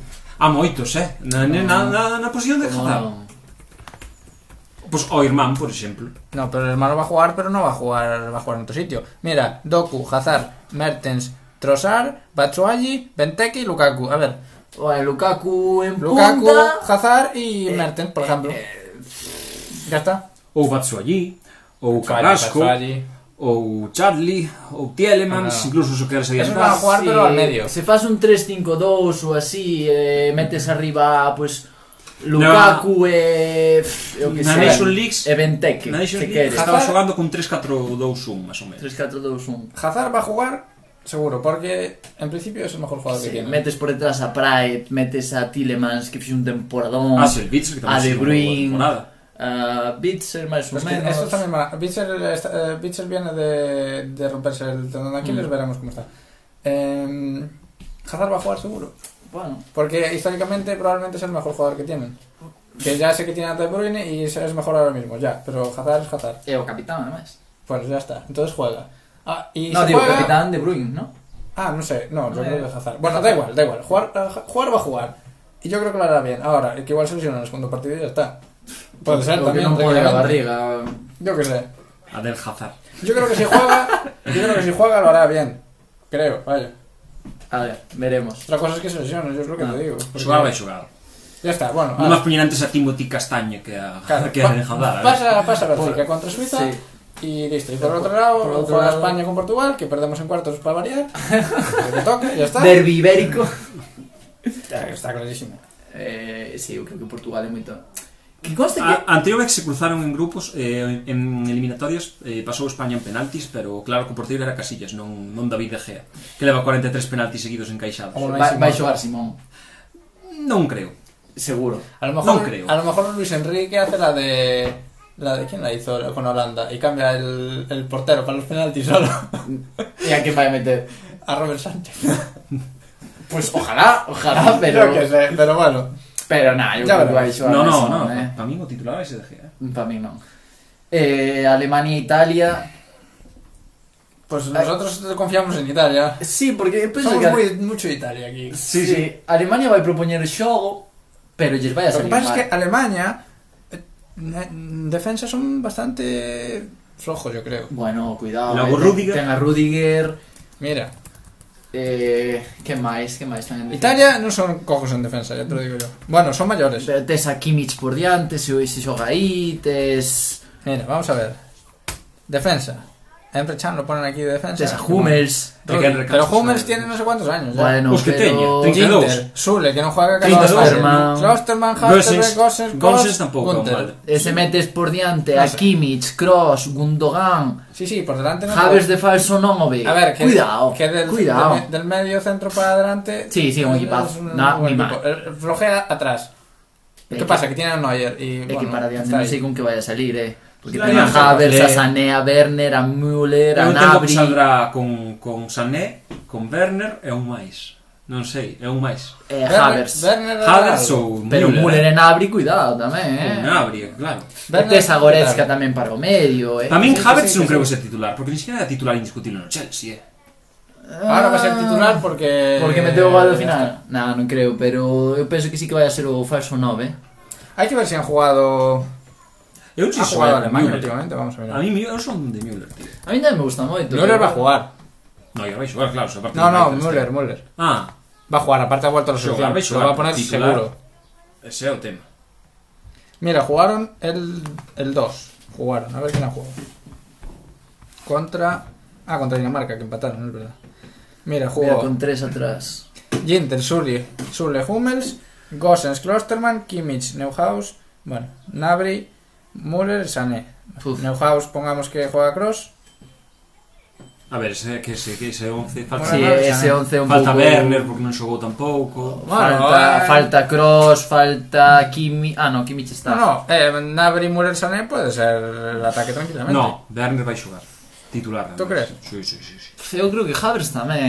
[SPEAKER 2] A moitos, eh? Na, na, na, na, na posición de Hazard.
[SPEAKER 3] Non,
[SPEAKER 2] Pois o irmán, por exemplo.
[SPEAKER 1] No, pero el hermano va a jugar, pero no va a jugar, va a jugar en otro sitio. Mira, Doku, Hazard, Mertens, Trossard, Batshuayi, Benteke y Lukaku. A ver,
[SPEAKER 3] Oe, Lukaku en
[SPEAKER 1] Lukaku,
[SPEAKER 3] punta. Eh,
[SPEAKER 1] Hazard y Mertens, por ejemplo. Ya está.
[SPEAKER 2] Ou Batshuayi, ou Carrasco,
[SPEAKER 1] Batshuayi.
[SPEAKER 2] ou Charlie, ou Tielemans,
[SPEAKER 1] Ah.
[SPEAKER 2] incluso se queres
[SPEAKER 1] Esos van a
[SPEAKER 2] adiantar.
[SPEAKER 1] jugar, pero al medio.
[SPEAKER 3] Se fas un 3-5-2 ou así, eh, metes arriba, pues, Lukaku e... pff, eu que
[SPEAKER 2] Na
[SPEAKER 3] sei,
[SPEAKER 2] Nations Leagues-
[SPEAKER 3] E Benteke,
[SPEAKER 2] Na Nations
[SPEAKER 3] se
[SPEAKER 2] League
[SPEAKER 3] queres.
[SPEAKER 2] estaba
[SPEAKER 1] Hazard-
[SPEAKER 2] xogando con 3-4-2-1, máis ou menos.
[SPEAKER 3] 3-4-2-1.
[SPEAKER 1] Hazard va a jugar, seguro, porque en principio es el mejor jugador que
[SPEAKER 3] Sí,
[SPEAKER 1] tiene.
[SPEAKER 3] metes por detrás a Pride, metes a Tillemans, que fixe un
[SPEAKER 1] Mm.
[SPEAKER 3] temporadón.
[SPEAKER 2] Ah, Selvich, que tamén
[SPEAKER 3] A De
[SPEAKER 2] se xogou
[SPEAKER 3] Bruyne.
[SPEAKER 2] temporada.
[SPEAKER 3] A Bitzer, máis ou
[SPEAKER 1] Pues que
[SPEAKER 3] menos.
[SPEAKER 1] esto también va. Bitzer, eh, está- eh, Bitzer viene de, de romperse el tendón de Aquiles,
[SPEAKER 3] Mm.
[SPEAKER 1] veremos cómo está. Eh, Hazard va a jugar seguro,
[SPEAKER 3] Bueno,
[SPEAKER 1] porque históricamente probablemente es el mejor jugador que tienen. Que ya sé que tiene a De Bruyne y es es mejor ahora mismo, ya, pero Hazard es Hazard.
[SPEAKER 3] é o capitán, además.
[SPEAKER 1] Pues ya está, entonces juega. Ah, y
[SPEAKER 3] No,
[SPEAKER 1] se
[SPEAKER 3] digo,
[SPEAKER 1] juega-
[SPEAKER 3] capitán de Bruyne, ¿no?
[SPEAKER 1] Ah, no sé, no, yo
[SPEAKER 3] Eh,
[SPEAKER 1] creo que es Hazard. Bueno, da igual, da igual, jugar, eh, jugar va a jugar. Y yo creo que lo hará bien. Ahora, que igual se lesiona en el segundo partido y ya está. Puede ser
[SPEAKER 3] Creo que
[SPEAKER 1] también.
[SPEAKER 3] non pode a
[SPEAKER 1] tranquilamente.
[SPEAKER 3] barriga.
[SPEAKER 1] Yo qué sé.
[SPEAKER 2] Adel Hazard.
[SPEAKER 1] Yo creo que si juega, yo creo que si juega lo hará bien. Creo, vaya.
[SPEAKER 3] A ver, veremos.
[SPEAKER 1] Otra cosa es que se lesione, yo es lo que
[SPEAKER 3] Ah.
[SPEAKER 1] te digo. porque-
[SPEAKER 2] Xogar vai xogar.
[SPEAKER 1] Ya está, bueno. ah.
[SPEAKER 2] Non máis
[SPEAKER 1] ahora-
[SPEAKER 2] poñer antes a Timothy Castaña que a,
[SPEAKER 1] claro,
[SPEAKER 2] que a
[SPEAKER 1] pa-
[SPEAKER 2] Adel Hazard. a ver.
[SPEAKER 1] pasa, pasa Bélgica contra Suiza
[SPEAKER 3] Sí.
[SPEAKER 1] y listo. Y por otro lado,
[SPEAKER 3] Por otro
[SPEAKER 1] juega
[SPEAKER 3] lado-
[SPEAKER 1] España con Portugal, que perdemos en cuartos para variar. Lo que toque, ya está.
[SPEAKER 3] Derbi ibérico.
[SPEAKER 1] Ya, Está clarísimo.
[SPEAKER 3] Eh, sí, eu creo que Portugal é moito... Que conste que...
[SPEAKER 1] Ah,
[SPEAKER 2] A, a anterior vez que se cruzaron en grupos eh, en eliminatorias eh, pasou España en penaltis pero claro que o porteiro era Casillas non, non David De Gea que leva 43 penaltis seguidos encaixados
[SPEAKER 1] Hombre.
[SPEAKER 3] Vai, vai xogar Simón,
[SPEAKER 2] non creo
[SPEAKER 3] seguro.
[SPEAKER 1] A lo mejor,
[SPEAKER 2] No creo.
[SPEAKER 1] A lo mejor Luis Enrique hace la de. La de quién la hizo con Holanda y cambia el, el portero para los penaltis solo
[SPEAKER 3] E a que vai meter?
[SPEAKER 1] a Robert Sánchez.
[SPEAKER 3] Pues ojalá, ojalá, pero...
[SPEAKER 1] Yo qué sé, pero bueno.
[SPEAKER 3] Pero nada, eu
[SPEAKER 1] Ya
[SPEAKER 3] creo que
[SPEAKER 1] veremos.
[SPEAKER 3] vai xogar
[SPEAKER 2] no, no,
[SPEAKER 3] Simón,
[SPEAKER 2] no,
[SPEAKER 3] eh.
[SPEAKER 2] para min o titular é ese De Gea eh.
[SPEAKER 3] Para mí non. Eh, Alemania e Italia...
[SPEAKER 1] Pues nosotros confiamos en Italia.
[SPEAKER 3] Sí, porque eu penso
[SPEAKER 1] Somos
[SPEAKER 3] que...
[SPEAKER 1] muy, mucho Italia aquí.
[SPEAKER 3] Sí, sí. Alemania vai propoñer xogo, pero lles vai a
[SPEAKER 1] Lo que
[SPEAKER 3] salir
[SPEAKER 1] pasa
[SPEAKER 3] mal.
[SPEAKER 1] es que Alemania, eh, en defensa son bastante flojos, yo creo.
[SPEAKER 3] Bueno, cuidado.
[SPEAKER 2] Logo
[SPEAKER 3] eh,
[SPEAKER 2] Rüdiger.
[SPEAKER 3] Ten a Rudiger.
[SPEAKER 1] Mira,
[SPEAKER 3] Eh, que máis, que máis están en defensa?
[SPEAKER 1] Italia non son cojos en defensa, ya te lo digo yo. Bueno, son mayores.
[SPEAKER 3] Pero tes a Kimmich por diante, se hoxe xoga aí, tes...
[SPEAKER 1] Mira, vamos a ver. Defensa. Emre Can lo ponen aquí de defensa.
[SPEAKER 3] Tes a Hummels.
[SPEAKER 1] Rodri.
[SPEAKER 3] eh,
[SPEAKER 2] Hay que recalcar,
[SPEAKER 1] Pero Hummels
[SPEAKER 2] ¿sabes?
[SPEAKER 1] tiene no sé cuántos años. ya.
[SPEAKER 3] Bueno,
[SPEAKER 2] Pues que teña, 30.
[SPEAKER 3] pero...
[SPEAKER 2] 32.
[SPEAKER 1] Ginter, Sule, que no juega cada
[SPEAKER 3] 32.
[SPEAKER 1] dos.
[SPEAKER 3] Klosterman.
[SPEAKER 1] Klosterman,
[SPEAKER 2] Gosens-
[SPEAKER 1] Halterberg, Gosens,
[SPEAKER 2] Gosens
[SPEAKER 1] Kos,
[SPEAKER 2] tampoco,
[SPEAKER 1] Gunter.
[SPEAKER 2] vale.
[SPEAKER 3] E se metes por diante
[SPEAKER 1] No
[SPEAKER 3] a
[SPEAKER 1] sé.
[SPEAKER 3] Kimmich, Kroos, Gundogan,
[SPEAKER 1] Sí, sí, por delante no.
[SPEAKER 3] Javes de falso non o ve.
[SPEAKER 1] A ver, que,
[SPEAKER 3] cuidado,
[SPEAKER 1] que del,
[SPEAKER 3] cuidado.
[SPEAKER 1] del me- del medio centro para adelante.
[SPEAKER 3] Sí, sí, un equipazo. No,
[SPEAKER 1] buen
[SPEAKER 3] ni
[SPEAKER 1] equipo.
[SPEAKER 3] mal.
[SPEAKER 1] El- el Flojea atrás. ¿Qué
[SPEAKER 3] Equi-
[SPEAKER 1] pasa? Que tiene a Neuer. Y,
[SPEAKER 3] É
[SPEAKER 1] bueno,
[SPEAKER 3] que para diante
[SPEAKER 1] está ahí.
[SPEAKER 3] non sei con que vai a salir, eh. Porque
[SPEAKER 2] Claro,
[SPEAKER 3] ten a
[SPEAKER 2] ya,
[SPEAKER 3] Havertz,
[SPEAKER 2] le-
[SPEAKER 3] a Sané, a Werner, a Müller, a
[SPEAKER 2] Eu entendo que
[SPEAKER 3] Nabri...
[SPEAKER 2] saldrá con, con Sané, con Werner e un máis. Non sei, é un máis.
[SPEAKER 3] E
[SPEAKER 1] Werner-
[SPEAKER 3] Havertz.
[SPEAKER 1] Werner era
[SPEAKER 2] Havertz
[SPEAKER 1] algo.
[SPEAKER 2] ou
[SPEAKER 3] Eh, Pero
[SPEAKER 2] Müller.
[SPEAKER 3] Müller e Nabri, cuidado tamén,
[SPEAKER 2] Un
[SPEAKER 3] eh.
[SPEAKER 2] Nabri, claro.
[SPEAKER 3] E
[SPEAKER 1] Werner-
[SPEAKER 3] tes a Goretzka
[SPEAKER 1] Claro.
[SPEAKER 3] tamén para o medio, eh.
[SPEAKER 2] A
[SPEAKER 1] sí,
[SPEAKER 2] min
[SPEAKER 1] sí,
[SPEAKER 2] Havertz
[SPEAKER 1] sí,
[SPEAKER 2] non
[SPEAKER 1] sí.
[SPEAKER 2] creo que sea titular, porque ni siquiera era titular indiscutible no Chelsea, eh.
[SPEAKER 1] Ahora va a ser titular porque.
[SPEAKER 3] Porque meteu o gol do
[SPEAKER 1] Eh, Ya está.
[SPEAKER 3] final. Nah, non creo, pero eu penso que sí que vai a ser o falso 9.
[SPEAKER 1] Hay que ver si han jugado.
[SPEAKER 2] Eu non
[SPEAKER 1] Ha
[SPEAKER 2] sei se
[SPEAKER 1] jugado
[SPEAKER 2] vai a
[SPEAKER 1] Alemania
[SPEAKER 2] Müller.
[SPEAKER 1] últimamente, vamos a ver.
[SPEAKER 2] A mí Müller, eu son de Müller, tío.
[SPEAKER 3] A mí tamén me gusta moito.
[SPEAKER 1] Müller
[SPEAKER 3] pero-
[SPEAKER 1] va a jugar.
[SPEAKER 2] No, ya vai xogar, claro, se aparte
[SPEAKER 1] No, no,
[SPEAKER 2] vai ter este.
[SPEAKER 1] Müller, Müller.
[SPEAKER 2] Ah,
[SPEAKER 1] Va a jugar, aparte ha vuelto a la
[SPEAKER 2] Jugar,
[SPEAKER 1] selección.
[SPEAKER 2] va a
[SPEAKER 1] Lo
[SPEAKER 2] jugar,
[SPEAKER 1] va a poner
[SPEAKER 2] titular.
[SPEAKER 1] seguro.
[SPEAKER 2] ese é o tema.
[SPEAKER 1] Mira, jugaron el, el 2. Jugaron, a ver quién ha jugado. Contra. Ah, contra Dinamarca, que empataron, no es verdad. Mira,
[SPEAKER 3] Mira,
[SPEAKER 1] jugó
[SPEAKER 3] con tres atrás.
[SPEAKER 1] Ginter, Sule, Sule Hummels, Gosens, Klosterman, Kimmich, Neuhaus, bueno, Nabri, Müller, Sané.
[SPEAKER 3] Uf.
[SPEAKER 1] Neuhaus, pongamos que juega Cross.
[SPEAKER 2] A ver, ese que ese que ese 11 falta
[SPEAKER 3] Sí,
[SPEAKER 1] Bueno,
[SPEAKER 3] ese
[SPEAKER 1] no,
[SPEAKER 3] 11 un
[SPEAKER 2] falta
[SPEAKER 3] pouco...
[SPEAKER 2] Werner porque non xogou tampouco.
[SPEAKER 1] Bueno,
[SPEAKER 3] falta,
[SPEAKER 1] eh.
[SPEAKER 3] falta Cross, falta Kimi... Ah, no, Kimmich
[SPEAKER 1] No,
[SPEAKER 3] está.
[SPEAKER 1] no, eh, Nabri, Müller, Sané puede ser el ataque tranquilamente.
[SPEAKER 2] No, Werner vai xogar titular.
[SPEAKER 1] Tú
[SPEAKER 2] además.
[SPEAKER 1] crees?
[SPEAKER 2] Sí, sí, sí, sí.
[SPEAKER 3] Eu creo que Havertz tamén,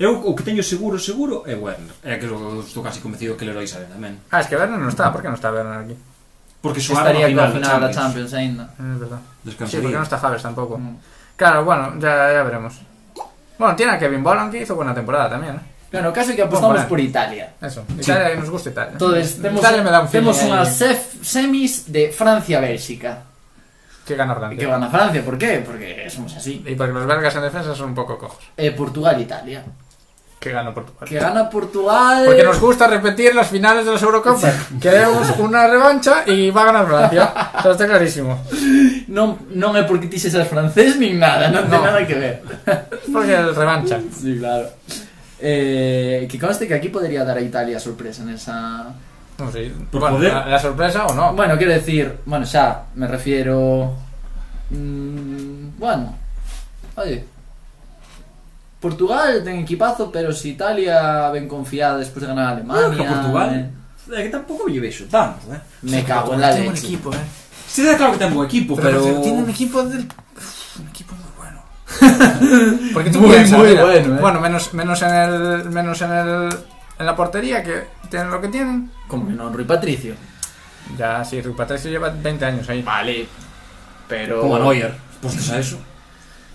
[SPEAKER 3] eh.
[SPEAKER 2] Eu o que teño seguro, seguro é Werner. É que eu estou casi convencido que Leroy sale tamén.
[SPEAKER 1] Ah, es que Werner no está, ¿por qué no está Werner aquí? Eh,
[SPEAKER 2] Porque xogaron
[SPEAKER 3] Estaría
[SPEAKER 2] a
[SPEAKER 3] coa
[SPEAKER 2] final,
[SPEAKER 3] final da
[SPEAKER 2] Champions.
[SPEAKER 3] Champions eh, ainda.
[SPEAKER 1] Es verdad. Sí,
[SPEAKER 2] Descansaría.
[SPEAKER 1] porque no está Javes tampoco.
[SPEAKER 3] Mm.
[SPEAKER 1] Claro, bueno, ya, ya veremos. Bueno, tiene a Kevin Bolan que hizo buena temporada también, ¿eh?
[SPEAKER 3] Bueno, o caso é que
[SPEAKER 1] Bueno,
[SPEAKER 3] apostamos por Italia.
[SPEAKER 1] Eso. Italia nos gusta Italia.
[SPEAKER 3] Entonces, temos,
[SPEAKER 1] Italia me da un
[SPEAKER 3] temos
[SPEAKER 1] feeling
[SPEAKER 3] unhas
[SPEAKER 1] ahí
[SPEAKER 3] sef- semis de Francia-Bélxica.
[SPEAKER 1] que gana
[SPEAKER 3] E
[SPEAKER 1] Francia.
[SPEAKER 3] Que van a Francia, por qué? Porque somos así.
[SPEAKER 1] Y porque los belgas en defensa son un poco cojos.
[SPEAKER 3] Eh, Portugal-Italia.
[SPEAKER 1] Que gana Portugal.
[SPEAKER 3] Que gana Portugal...
[SPEAKER 1] Porque nos gusta repetir las finales de las Eurocopas. Queremos una revancha y va a ganar Francia. Eso está clarísimo.
[SPEAKER 3] Non, non é porque ti sexas francés nin nada, non
[SPEAKER 1] No.
[SPEAKER 3] ten nada que ver.
[SPEAKER 1] Es porque es revancha.
[SPEAKER 3] Sí, claro. Eh, que conste que aquí podría dar a Italia sorpresa nesa...
[SPEAKER 1] No sé.
[SPEAKER 2] Por
[SPEAKER 1] bueno,
[SPEAKER 2] poder.
[SPEAKER 1] La, la sorpresa o no.
[SPEAKER 3] Bueno, quiero decir, bueno, xa, me refiero... mm, bueno, oye... Portugal ten equipazo, pero si Italia ven confiada despois de ganar a
[SPEAKER 2] Bueno, que
[SPEAKER 3] Alemania...
[SPEAKER 2] a Portugal.
[SPEAKER 3] eh,
[SPEAKER 2] É que tampouco lle vexo tanto, eh.
[SPEAKER 3] me cago en la
[SPEAKER 1] Tiene un
[SPEAKER 3] leche.
[SPEAKER 1] equipo, eh.
[SPEAKER 2] Sí, da claro que ten bo equipo, pero,
[SPEAKER 1] tiene un equipo del Uf, un equipo muy bueno. Porque tú
[SPEAKER 3] Muy,
[SPEAKER 1] piensas,
[SPEAKER 3] muy
[SPEAKER 1] mira,
[SPEAKER 3] bueno, eh.
[SPEAKER 1] menos menos en el menos en el en la portería que tienen lo que tienen.
[SPEAKER 3] Como que non, Rui Patricio.
[SPEAKER 1] Ya sí, Rui Patricio lleva 20 años ahí.
[SPEAKER 3] Vale, pero...
[SPEAKER 2] como a Neuer. Postes a eso.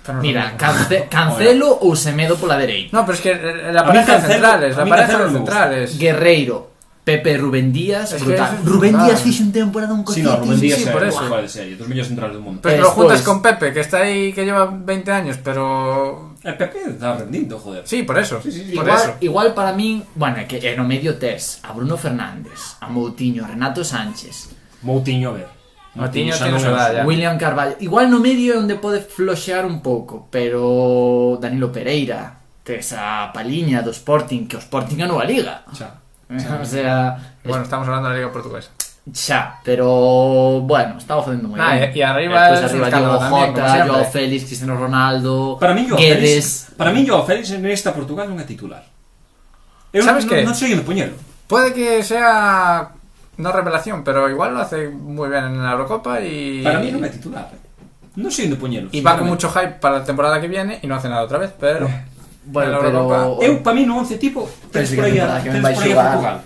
[SPEAKER 1] Pero no es lo
[SPEAKER 3] Mira,
[SPEAKER 1] mismo.
[SPEAKER 3] cance- cancelo ou semedo pola dereita.
[SPEAKER 1] no, pero es que eh, la
[SPEAKER 2] A mí
[SPEAKER 1] pareja de
[SPEAKER 2] Cancelo-
[SPEAKER 1] centrales,
[SPEAKER 2] a
[SPEAKER 1] la
[SPEAKER 2] mí
[SPEAKER 1] pareja
[SPEAKER 2] Cancelo
[SPEAKER 1] de
[SPEAKER 2] no me gusta.
[SPEAKER 1] centrales.
[SPEAKER 3] Guerreiro, Pepe Rubén Díaz,
[SPEAKER 1] Es que
[SPEAKER 3] brutal.
[SPEAKER 1] eso es
[SPEAKER 3] Rubén
[SPEAKER 1] brutal.
[SPEAKER 3] Díaz fixo un temporada un
[SPEAKER 2] Si no, Rubén
[SPEAKER 1] sí,
[SPEAKER 2] Díaz
[SPEAKER 1] sí,
[SPEAKER 2] é
[SPEAKER 1] por
[SPEAKER 2] o
[SPEAKER 1] eso.
[SPEAKER 2] jugador de serie, dos millóns centrales do mundo.
[SPEAKER 1] Pero lo juntas
[SPEAKER 3] Después.
[SPEAKER 1] con Pepe, que está ahí, que lleva 20 años, pero...
[SPEAKER 2] El PP Eh, está rendindo, joder.
[SPEAKER 1] Sí, por eso. por
[SPEAKER 3] Igual,
[SPEAKER 1] eso.
[SPEAKER 3] igual para min, bueno, é que é no medio tes a Bruno Fernández, a Moutinho, a Renato Sánchez,
[SPEAKER 2] Moutinho, a ver.
[SPEAKER 1] Moutinho
[SPEAKER 2] xa
[SPEAKER 1] tiene
[SPEAKER 2] non
[SPEAKER 1] su
[SPEAKER 2] é o
[SPEAKER 1] edad,
[SPEAKER 2] seu.
[SPEAKER 1] Ya.
[SPEAKER 3] William Carvalho. Igual no medio é onde pode floxear un pouco, pero Danilo Pereira, tes a Paliña do Sporting, que o Sporting ganou a Liga.
[SPEAKER 2] Xa.
[SPEAKER 3] o sea,
[SPEAKER 1] Bueno, estamos hablando de la Liga Portuguesa.
[SPEAKER 3] xa, pero bueno, estaba facendo moi
[SPEAKER 1] Nah,
[SPEAKER 3] ben.
[SPEAKER 1] Ah, e- e arriba
[SPEAKER 3] E despois
[SPEAKER 1] es un
[SPEAKER 3] arriba
[SPEAKER 1] escándalo
[SPEAKER 3] Diogo
[SPEAKER 1] tamén, como
[SPEAKER 3] Jota,
[SPEAKER 1] sempre.
[SPEAKER 3] Joao Félix, Cristiano Ronaldo,
[SPEAKER 2] Para min, Joao
[SPEAKER 3] Guedes.
[SPEAKER 2] Félix, para min, Joao Félix nesta Portugal non é titular. Eu
[SPEAKER 1] Sabes
[SPEAKER 2] non,
[SPEAKER 1] que?
[SPEAKER 2] non sei onde poñelo.
[SPEAKER 1] Puede que sea... No revelación, pero igual lo hace muy bien en la Eurocopa y...
[SPEAKER 2] Para mí non é titular. eh. Non sei onde poñelo.
[SPEAKER 1] Y va con
[SPEAKER 2] sinceramente.
[SPEAKER 1] mucho hype para la temporada que viene y no hace nada otra vez, pero... en
[SPEAKER 3] Bueno,
[SPEAKER 1] la
[SPEAKER 3] pero-
[SPEAKER 1] Eurocopa.
[SPEAKER 2] Eu, para mí, no 11 tipo, tens
[SPEAKER 3] Pensei
[SPEAKER 2] por
[SPEAKER 3] que
[SPEAKER 2] aí
[SPEAKER 3] temporada
[SPEAKER 2] a,
[SPEAKER 3] que
[SPEAKER 2] tens
[SPEAKER 3] vai
[SPEAKER 2] por aí a
[SPEAKER 3] xogar.
[SPEAKER 2] Portugal.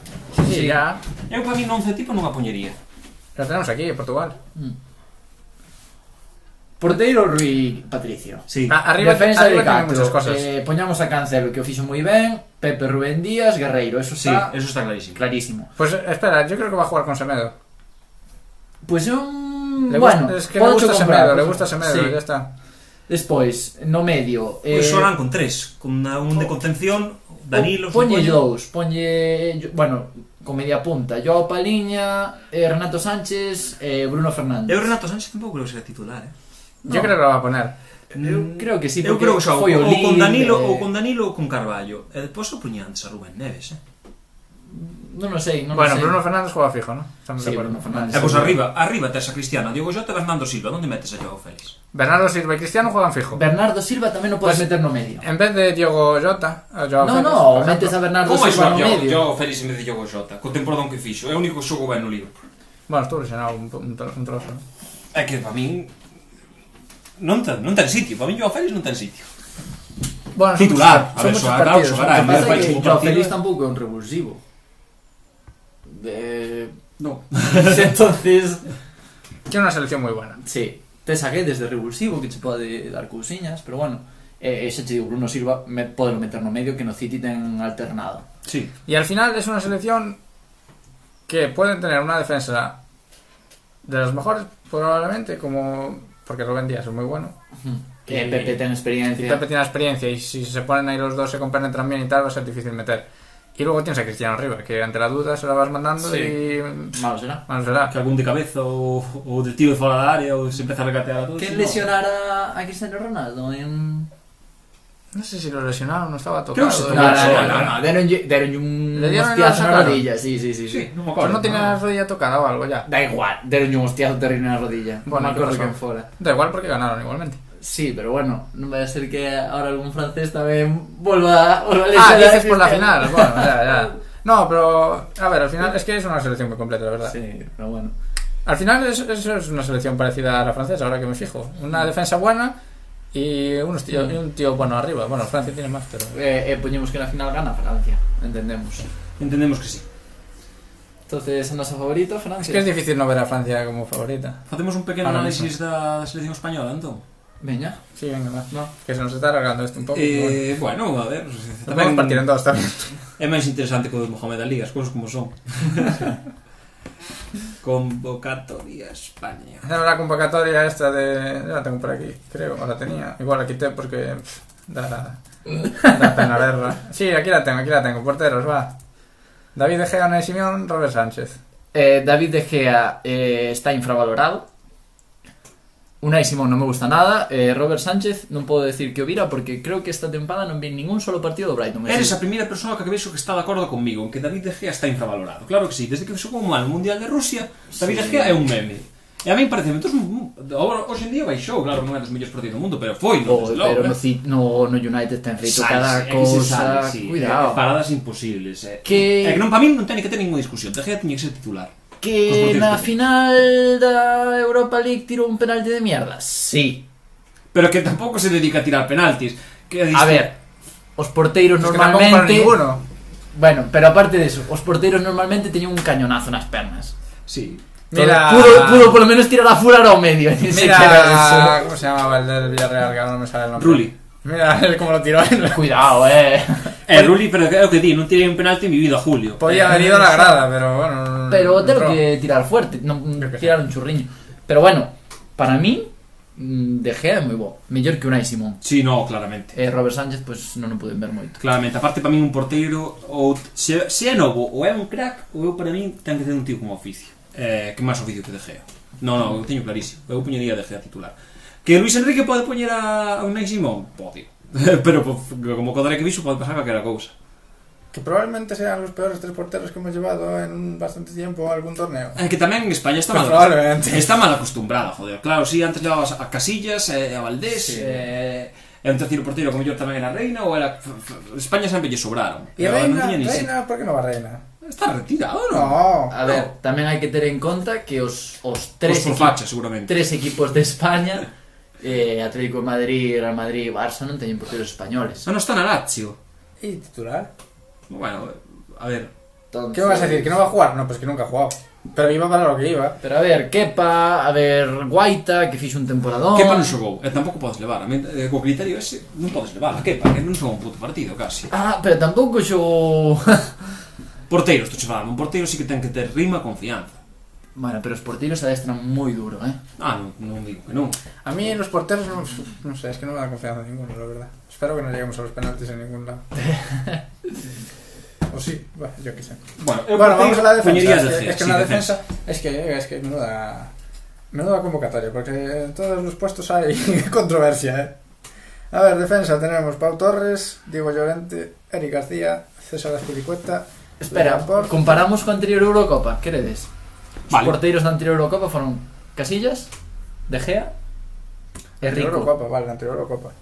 [SPEAKER 1] Sí, ya.
[SPEAKER 2] Eu, para mí, no 11 tipo non a poñería.
[SPEAKER 1] La tenemos aquí, en Portugal.
[SPEAKER 3] Porteiro Rui Patricio.
[SPEAKER 2] Sí.
[SPEAKER 1] Ah, arriba
[SPEAKER 3] Defensa
[SPEAKER 1] arriba
[SPEAKER 3] de
[SPEAKER 1] tiene
[SPEAKER 3] Castro.
[SPEAKER 1] muchas cosas.
[SPEAKER 3] Eh, poñamos a Cancelo, que o fixo moi ben. Pepe Rubén Díaz, Guerreiro. Eso
[SPEAKER 2] sí,
[SPEAKER 1] ah,
[SPEAKER 3] está
[SPEAKER 2] eso está clarísimo.
[SPEAKER 3] clarísimo.
[SPEAKER 1] Pues eh, espera, yo creo que va a jugar con Semedo.
[SPEAKER 3] Pois é un...
[SPEAKER 1] Le
[SPEAKER 3] bueno,
[SPEAKER 1] gusta- es que le
[SPEAKER 3] podo
[SPEAKER 1] gusta
[SPEAKER 3] comprar,
[SPEAKER 1] Semedo, le
[SPEAKER 3] pois-
[SPEAKER 1] gusta ¿eh? Semedo,
[SPEAKER 3] Sí.
[SPEAKER 1] ya está.
[SPEAKER 3] Despois, no medio... eh,
[SPEAKER 6] Pois
[SPEAKER 1] Eh,
[SPEAKER 6] xogarán con tres, con a- un de contención, Danilo,
[SPEAKER 3] Ponlle
[SPEAKER 6] supoño.
[SPEAKER 3] dous, ponlle, yo- bueno, con media punta, Joao Paliña, eh, Renato Sánchez, eh, Bruno Fernández.
[SPEAKER 6] Eu Renato Sánchez tampouco creo que sea titular, eh.
[SPEAKER 1] Yo creo que lo va a poner.
[SPEAKER 2] Mm,
[SPEAKER 3] Eu Mm, creo que sí,
[SPEAKER 6] Eu
[SPEAKER 3] porque
[SPEAKER 6] creo que xa, ou,
[SPEAKER 3] foi o
[SPEAKER 6] ou con
[SPEAKER 3] Lille,
[SPEAKER 6] Danilo
[SPEAKER 3] eh,
[SPEAKER 6] ou con Danilo ou con Carballo. E depois o puñan a Rubén Neves, eh.
[SPEAKER 3] Non o sei, non
[SPEAKER 1] bueno,
[SPEAKER 3] o sei.
[SPEAKER 1] Bruno Fernández juega fijo, ¿no? Estamos de
[SPEAKER 3] Sí,
[SPEAKER 1] acuerdo.
[SPEAKER 3] Bruno Fernández. Ah,
[SPEAKER 6] E pois
[SPEAKER 3] pues seguro.
[SPEAKER 6] arriba, arriba tes a Cristiano, Diogo Jota, Bernardo Silva, onde metes a Joao Félix?
[SPEAKER 1] Bernardo Silva y Cristiano juegan fijo.
[SPEAKER 3] Bernardo Silva tamén o podes
[SPEAKER 1] Pues-
[SPEAKER 3] meter no medio.
[SPEAKER 1] en vez de Diogo Jota, a Joao
[SPEAKER 3] No,
[SPEAKER 1] Félix,
[SPEAKER 3] no,
[SPEAKER 1] por
[SPEAKER 3] metes a
[SPEAKER 1] ejemplo.
[SPEAKER 3] Bernardo
[SPEAKER 6] Como é
[SPEAKER 3] Silva
[SPEAKER 6] xogar
[SPEAKER 3] no
[SPEAKER 6] Joao,
[SPEAKER 3] medio.
[SPEAKER 6] Joao Félix en vez de Diogo Jota? Co temporadón que fixo, é o único que xogo ben no Liverpool.
[SPEAKER 1] Bueno, estuvo lesionado un, un, tro- un trozo. ¿no?
[SPEAKER 6] É que para min non ten, non ten sitio, para min Joao Félix non ten sitio.
[SPEAKER 1] Bueno, son-
[SPEAKER 6] Titular, a
[SPEAKER 1] son
[SPEAKER 6] ver,
[SPEAKER 1] muchos
[SPEAKER 6] xogará,
[SPEAKER 1] partidos,
[SPEAKER 6] xogará,
[SPEAKER 1] son
[SPEAKER 3] Lo que
[SPEAKER 6] non fai
[SPEAKER 1] muchos
[SPEAKER 3] pasa é
[SPEAKER 1] partidos.
[SPEAKER 3] que
[SPEAKER 6] ningún
[SPEAKER 3] Joao
[SPEAKER 6] partido.
[SPEAKER 3] Félix tampouco é un revulsivo. De...
[SPEAKER 1] No.
[SPEAKER 3] entonces,
[SPEAKER 1] Tiene una selección muy buena.
[SPEAKER 3] Sí, tes a Guedes de revulsivo que che pode dar cousiñas, pero bueno, eh, ese che digo, Bruno Silva me, pode meter no medio que no City ten alternado.
[SPEAKER 6] Sí,
[SPEAKER 1] Y al final es una selección que pueden tener una defensa de las mejores, probablemente, como. Porque Rubén Díaz es muy bueno.
[SPEAKER 3] Que
[SPEAKER 1] Y-
[SPEAKER 3] Pepe ten
[SPEAKER 1] Y
[SPEAKER 3] experiencia.
[SPEAKER 1] Pepe tiene experiencia y si se ponen ahí los dos, se compenetran bien y tal, va a ser difícil meter. Y luego tienes a Cristiano arriba, que ante la duda se la vas mandando
[SPEAKER 3] Sí.
[SPEAKER 1] y...
[SPEAKER 3] Malo será.
[SPEAKER 1] Bueno, será.
[SPEAKER 2] que algún de cabeza ou, ou de tiro de fora da área ou se empeza a regatear a todos.
[SPEAKER 3] Que
[SPEAKER 2] no.
[SPEAKER 3] lesionara a Cristiano Ronaldo en...
[SPEAKER 1] No sé si lo lesionaron, no estaba tocado.
[SPEAKER 2] Creo que se
[SPEAKER 1] Pero
[SPEAKER 2] tocó.
[SPEAKER 1] no,
[SPEAKER 2] no, no, no,
[SPEAKER 3] deronlle deronlle un
[SPEAKER 1] Le dieron
[SPEAKER 3] hostiazo
[SPEAKER 1] en la
[SPEAKER 3] na
[SPEAKER 1] cara.
[SPEAKER 3] rodilla, sí, sí, sí. sí.
[SPEAKER 2] Sí, non me acordo.
[SPEAKER 1] Pues tenía la rodilla tocada o algo ya.
[SPEAKER 3] Da igual, deronlle un hostiazo terrible na rodilla.
[SPEAKER 1] Bueno,
[SPEAKER 3] non me acordo
[SPEAKER 1] ¿qué pasó?
[SPEAKER 3] quen fora.
[SPEAKER 1] Da igual porque ganaron igualmente.
[SPEAKER 3] Sí, pero bueno, non vai a ser que ahora algún francés tamén volva, volva a
[SPEAKER 1] Ah,
[SPEAKER 3] lesionar a
[SPEAKER 1] dices por la
[SPEAKER 3] Cristiano.
[SPEAKER 1] final. Bueno, ya, ya. No, pero... A ver, al final es que es una selección muy completa, la verdad.
[SPEAKER 3] Sí, pero bueno.
[SPEAKER 1] Al final es, es- es una selección parecida a la francesa, ahora que me fijo. Una defensa buena y, unos tío- y un tío bueno arriba. Bueno, Francia tiene más, pero...
[SPEAKER 3] Eh, eh, poñemos que na final gana Francia, entendemos.
[SPEAKER 2] Entendemos que sí.
[SPEAKER 3] Entonces, a nosa favorita,
[SPEAKER 1] Es
[SPEAKER 3] Francia.
[SPEAKER 1] que es difícil no ver a Francia como favorita.
[SPEAKER 2] Facemos un pequeno
[SPEAKER 1] Ahora
[SPEAKER 2] análisis da selección española, entón.
[SPEAKER 3] Veña.
[SPEAKER 1] Sí, venga, va. No, que se nos está alargando esto un poco. Eh,
[SPEAKER 2] Eh, bueno, a ver,
[SPEAKER 1] Tamén partir en dos tamén.
[SPEAKER 2] É máis interesante que o de Mohamed Ali, as cousas como son. Convocatoria España.
[SPEAKER 1] La convocatoria esta de... Yo la tengo por aquí, creo. O la tenía. Igual la quité porque... pff, da, da pena verla. Sí, aquí la tengo, aquí la tengo. Porteros, va. David De Gea, Unai Simeón, Robert Sánchez.
[SPEAKER 3] Eh, David De Gea eh, está infravalorado. Unai Simón non me gusta nada. Eh, Robert Sánchez non podo decir que o vira porque creo que esta tempada non vi ningún solo partido do Brighton. É
[SPEAKER 2] Eres
[SPEAKER 3] dicir,
[SPEAKER 2] a primeira persoa que vexo que está de acordo comigo en que David De Gea está infravalorado. Claro que sí, desde que xogou mal o Mundial de Rusia, David De Gea é un meme. E a min parece, entón, agora, hoxe en día baixou, claro, non é dos mellores partidos do mundo, pero foi, non,
[SPEAKER 3] Oh,
[SPEAKER 2] desde
[SPEAKER 3] pero
[SPEAKER 2] logo.
[SPEAKER 3] no,
[SPEAKER 2] eh.
[SPEAKER 3] Ci- no, no United ten feito
[SPEAKER 2] Sai,
[SPEAKER 3] cada
[SPEAKER 2] é que se
[SPEAKER 3] cousa.
[SPEAKER 2] sí, é
[SPEAKER 3] Cuidado.
[SPEAKER 2] Paradas imposibles, eh.
[SPEAKER 3] Que-
[SPEAKER 2] É que non, para min non ten que ter ninguna discusión, De Gea tiña que ser titular. Os
[SPEAKER 3] Que
[SPEAKER 2] motivos
[SPEAKER 3] na
[SPEAKER 2] que-
[SPEAKER 3] final da Europa League tirou un penalti de mierda. Sí.
[SPEAKER 2] Pero que tampouco se dedica a tirar penaltis. Que
[SPEAKER 3] A ver, os porteiros
[SPEAKER 1] Pues Es que tampoco para
[SPEAKER 3] normalmente...
[SPEAKER 1] ninguno.
[SPEAKER 3] Bueno, pero aparte de eso, os porteiros normalmente teñen un cañonazo nas pernas.
[SPEAKER 2] Sí.
[SPEAKER 1] Mira...
[SPEAKER 3] Pudo, pudo polo menos tirar a furar ao medio. Mira,
[SPEAKER 1] Mira, ¿cómo se llamaba el del Villarreal? Que ahora no me sale el nombre.
[SPEAKER 2] Rulli.
[SPEAKER 1] Mira él cómo lo tiró.
[SPEAKER 3] Cuidado, eh.
[SPEAKER 2] Eh, Rulli, pero é o que di, non tirei un penalti en mi vida, Julio.
[SPEAKER 1] Podía haber ido a la grada, pero bueno.
[SPEAKER 3] Pero
[SPEAKER 1] te
[SPEAKER 3] tengo
[SPEAKER 1] lo
[SPEAKER 3] que tirar fuerte, no,
[SPEAKER 1] Creo que
[SPEAKER 3] tirar un churriño. Pero bueno, para mí, mm, De Gea é moi bo. Mellor que Unai Simón.
[SPEAKER 2] Sí, no, claramente.
[SPEAKER 3] E Robert Sánchez, pois pues, non o pude ver moito.
[SPEAKER 2] Claramente, aparte para min un porteiro ou se, se é novo ou é un crack, ou eu para min ten que ter un tío como oficio. Eh, que máis oficio que De Gea. Non, non, eu teño clarísimo. Eu poñería De Gea titular. Que Luis Enrique pode poñer a a Unai Simón, pode. Pero po- como codaré que viso pode pasar calquera cousa.
[SPEAKER 1] Que probablemente sean los peores tres porteros que hemos llevado en un bastante tiempo a algún torneo.
[SPEAKER 2] É Eh, que tamén en España está mal.
[SPEAKER 1] Probablemente.
[SPEAKER 2] Está mal acostumbrada, joder. Claro, sí, antes llevabas a Casillas, eh, a Valdés, eh, e un terceiro portero como yo tamén era Reina ou era f- f- España sempre lle sobraron.
[SPEAKER 1] ¿Y
[SPEAKER 2] Eh,
[SPEAKER 1] Reina?
[SPEAKER 2] tiña se-
[SPEAKER 1] ¿Reina? ¿Por qué no va Reina?
[SPEAKER 2] Está retirado, Pues non?
[SPEAKER 1] No.
[SPEAKER 3] A ver, tamén hai que ter en conta que os, os tres,
[SPEAKER 2] Pois por
[SPEAKER 3] equi-
[SPEAKER 2] facha, seguramente.
[SPEAKER 3] tres equipos de España, eh, Atlético de Madrid, Real Madrid e Barça, non teñen porteros españoles.
[SPEAKER 2] Ah, non está na Lazio.
[SPEAKER 1] ¿Y titular?
[SPEAKER 2] Bueno, a ver.
[SPEAKER 3] Entonces-
[SPEAKER 1] ¿Qué vas a decir? ¿Que no va a jugar? No, pues que nunca ha jugado. Pero iba para lo que iba.
[SPEAKER 3] Pero a ver, Kepa, a ver, Guaita, que fixo un temporadón.
[SPEAKER 2] Kepa non xogou, e tampouco podes levar. A min, eh, co criterio ese, non podes levar a Kepa, que non xogou un puto partido, casi.
[SPEAKER 3] Ah, pero tampouco xogou...
[SPEAKER 2] Porteiro, estou che falando, un porteiro sí que ten que ter rima e confianza.
[SPEAKER 3] Bueno, pero os portiros adestran moi duro, eh?
[SPEAKER 2] Ah, non, non digo que non.
[SPEAKER 1] A mí los porteros no, no sé, es que no me da confianza ninguno, la verdad. Espero que no lleguemos a los penaltis en ningún lado. O sí, bueno, yo qué sé.
[SPEAKER 2] Bueno, eu
[SPEAKER 1] Bueno,
[SPEAKER 2] partei
[SPEAKER 1] vamos a la defensa.
[SPEAKER 2] puñerías
[SPEAKER 1] Es
[SPEAKER 2] de
[SPEAKER 1] que,
[SPEAKER 2] G,
[SPEAKER 1] es que
[SPEAKER 2] sí,
[SPEAKER 1] en la
[SPEAKER 2] defensa.
[SPEAKER 1] defensa, es que es que menuda menuda convocatoria, porque en todos los puestos hay controversia, ¿eh? A ver, defensa tenemos Pau Torres, Diego Llorente, Eric García, César Azpilicueta.
[SPEAKER 3] Espera,
[SPEAKER 1] Lampard.
[SPEAKER 3] comparamos coa anterior Eurocopa, queredes? Os
[SPEAKER 2] Vale.
[SPEAKER 3] porteiros da anterior Eurocopa foron Casillas, De Gea e
[SPEAKER 1] Anterior
[SPEAKER 3] Rico.
[SPEAKER 1] Eurocopa, vale, la anterior Eurocopa.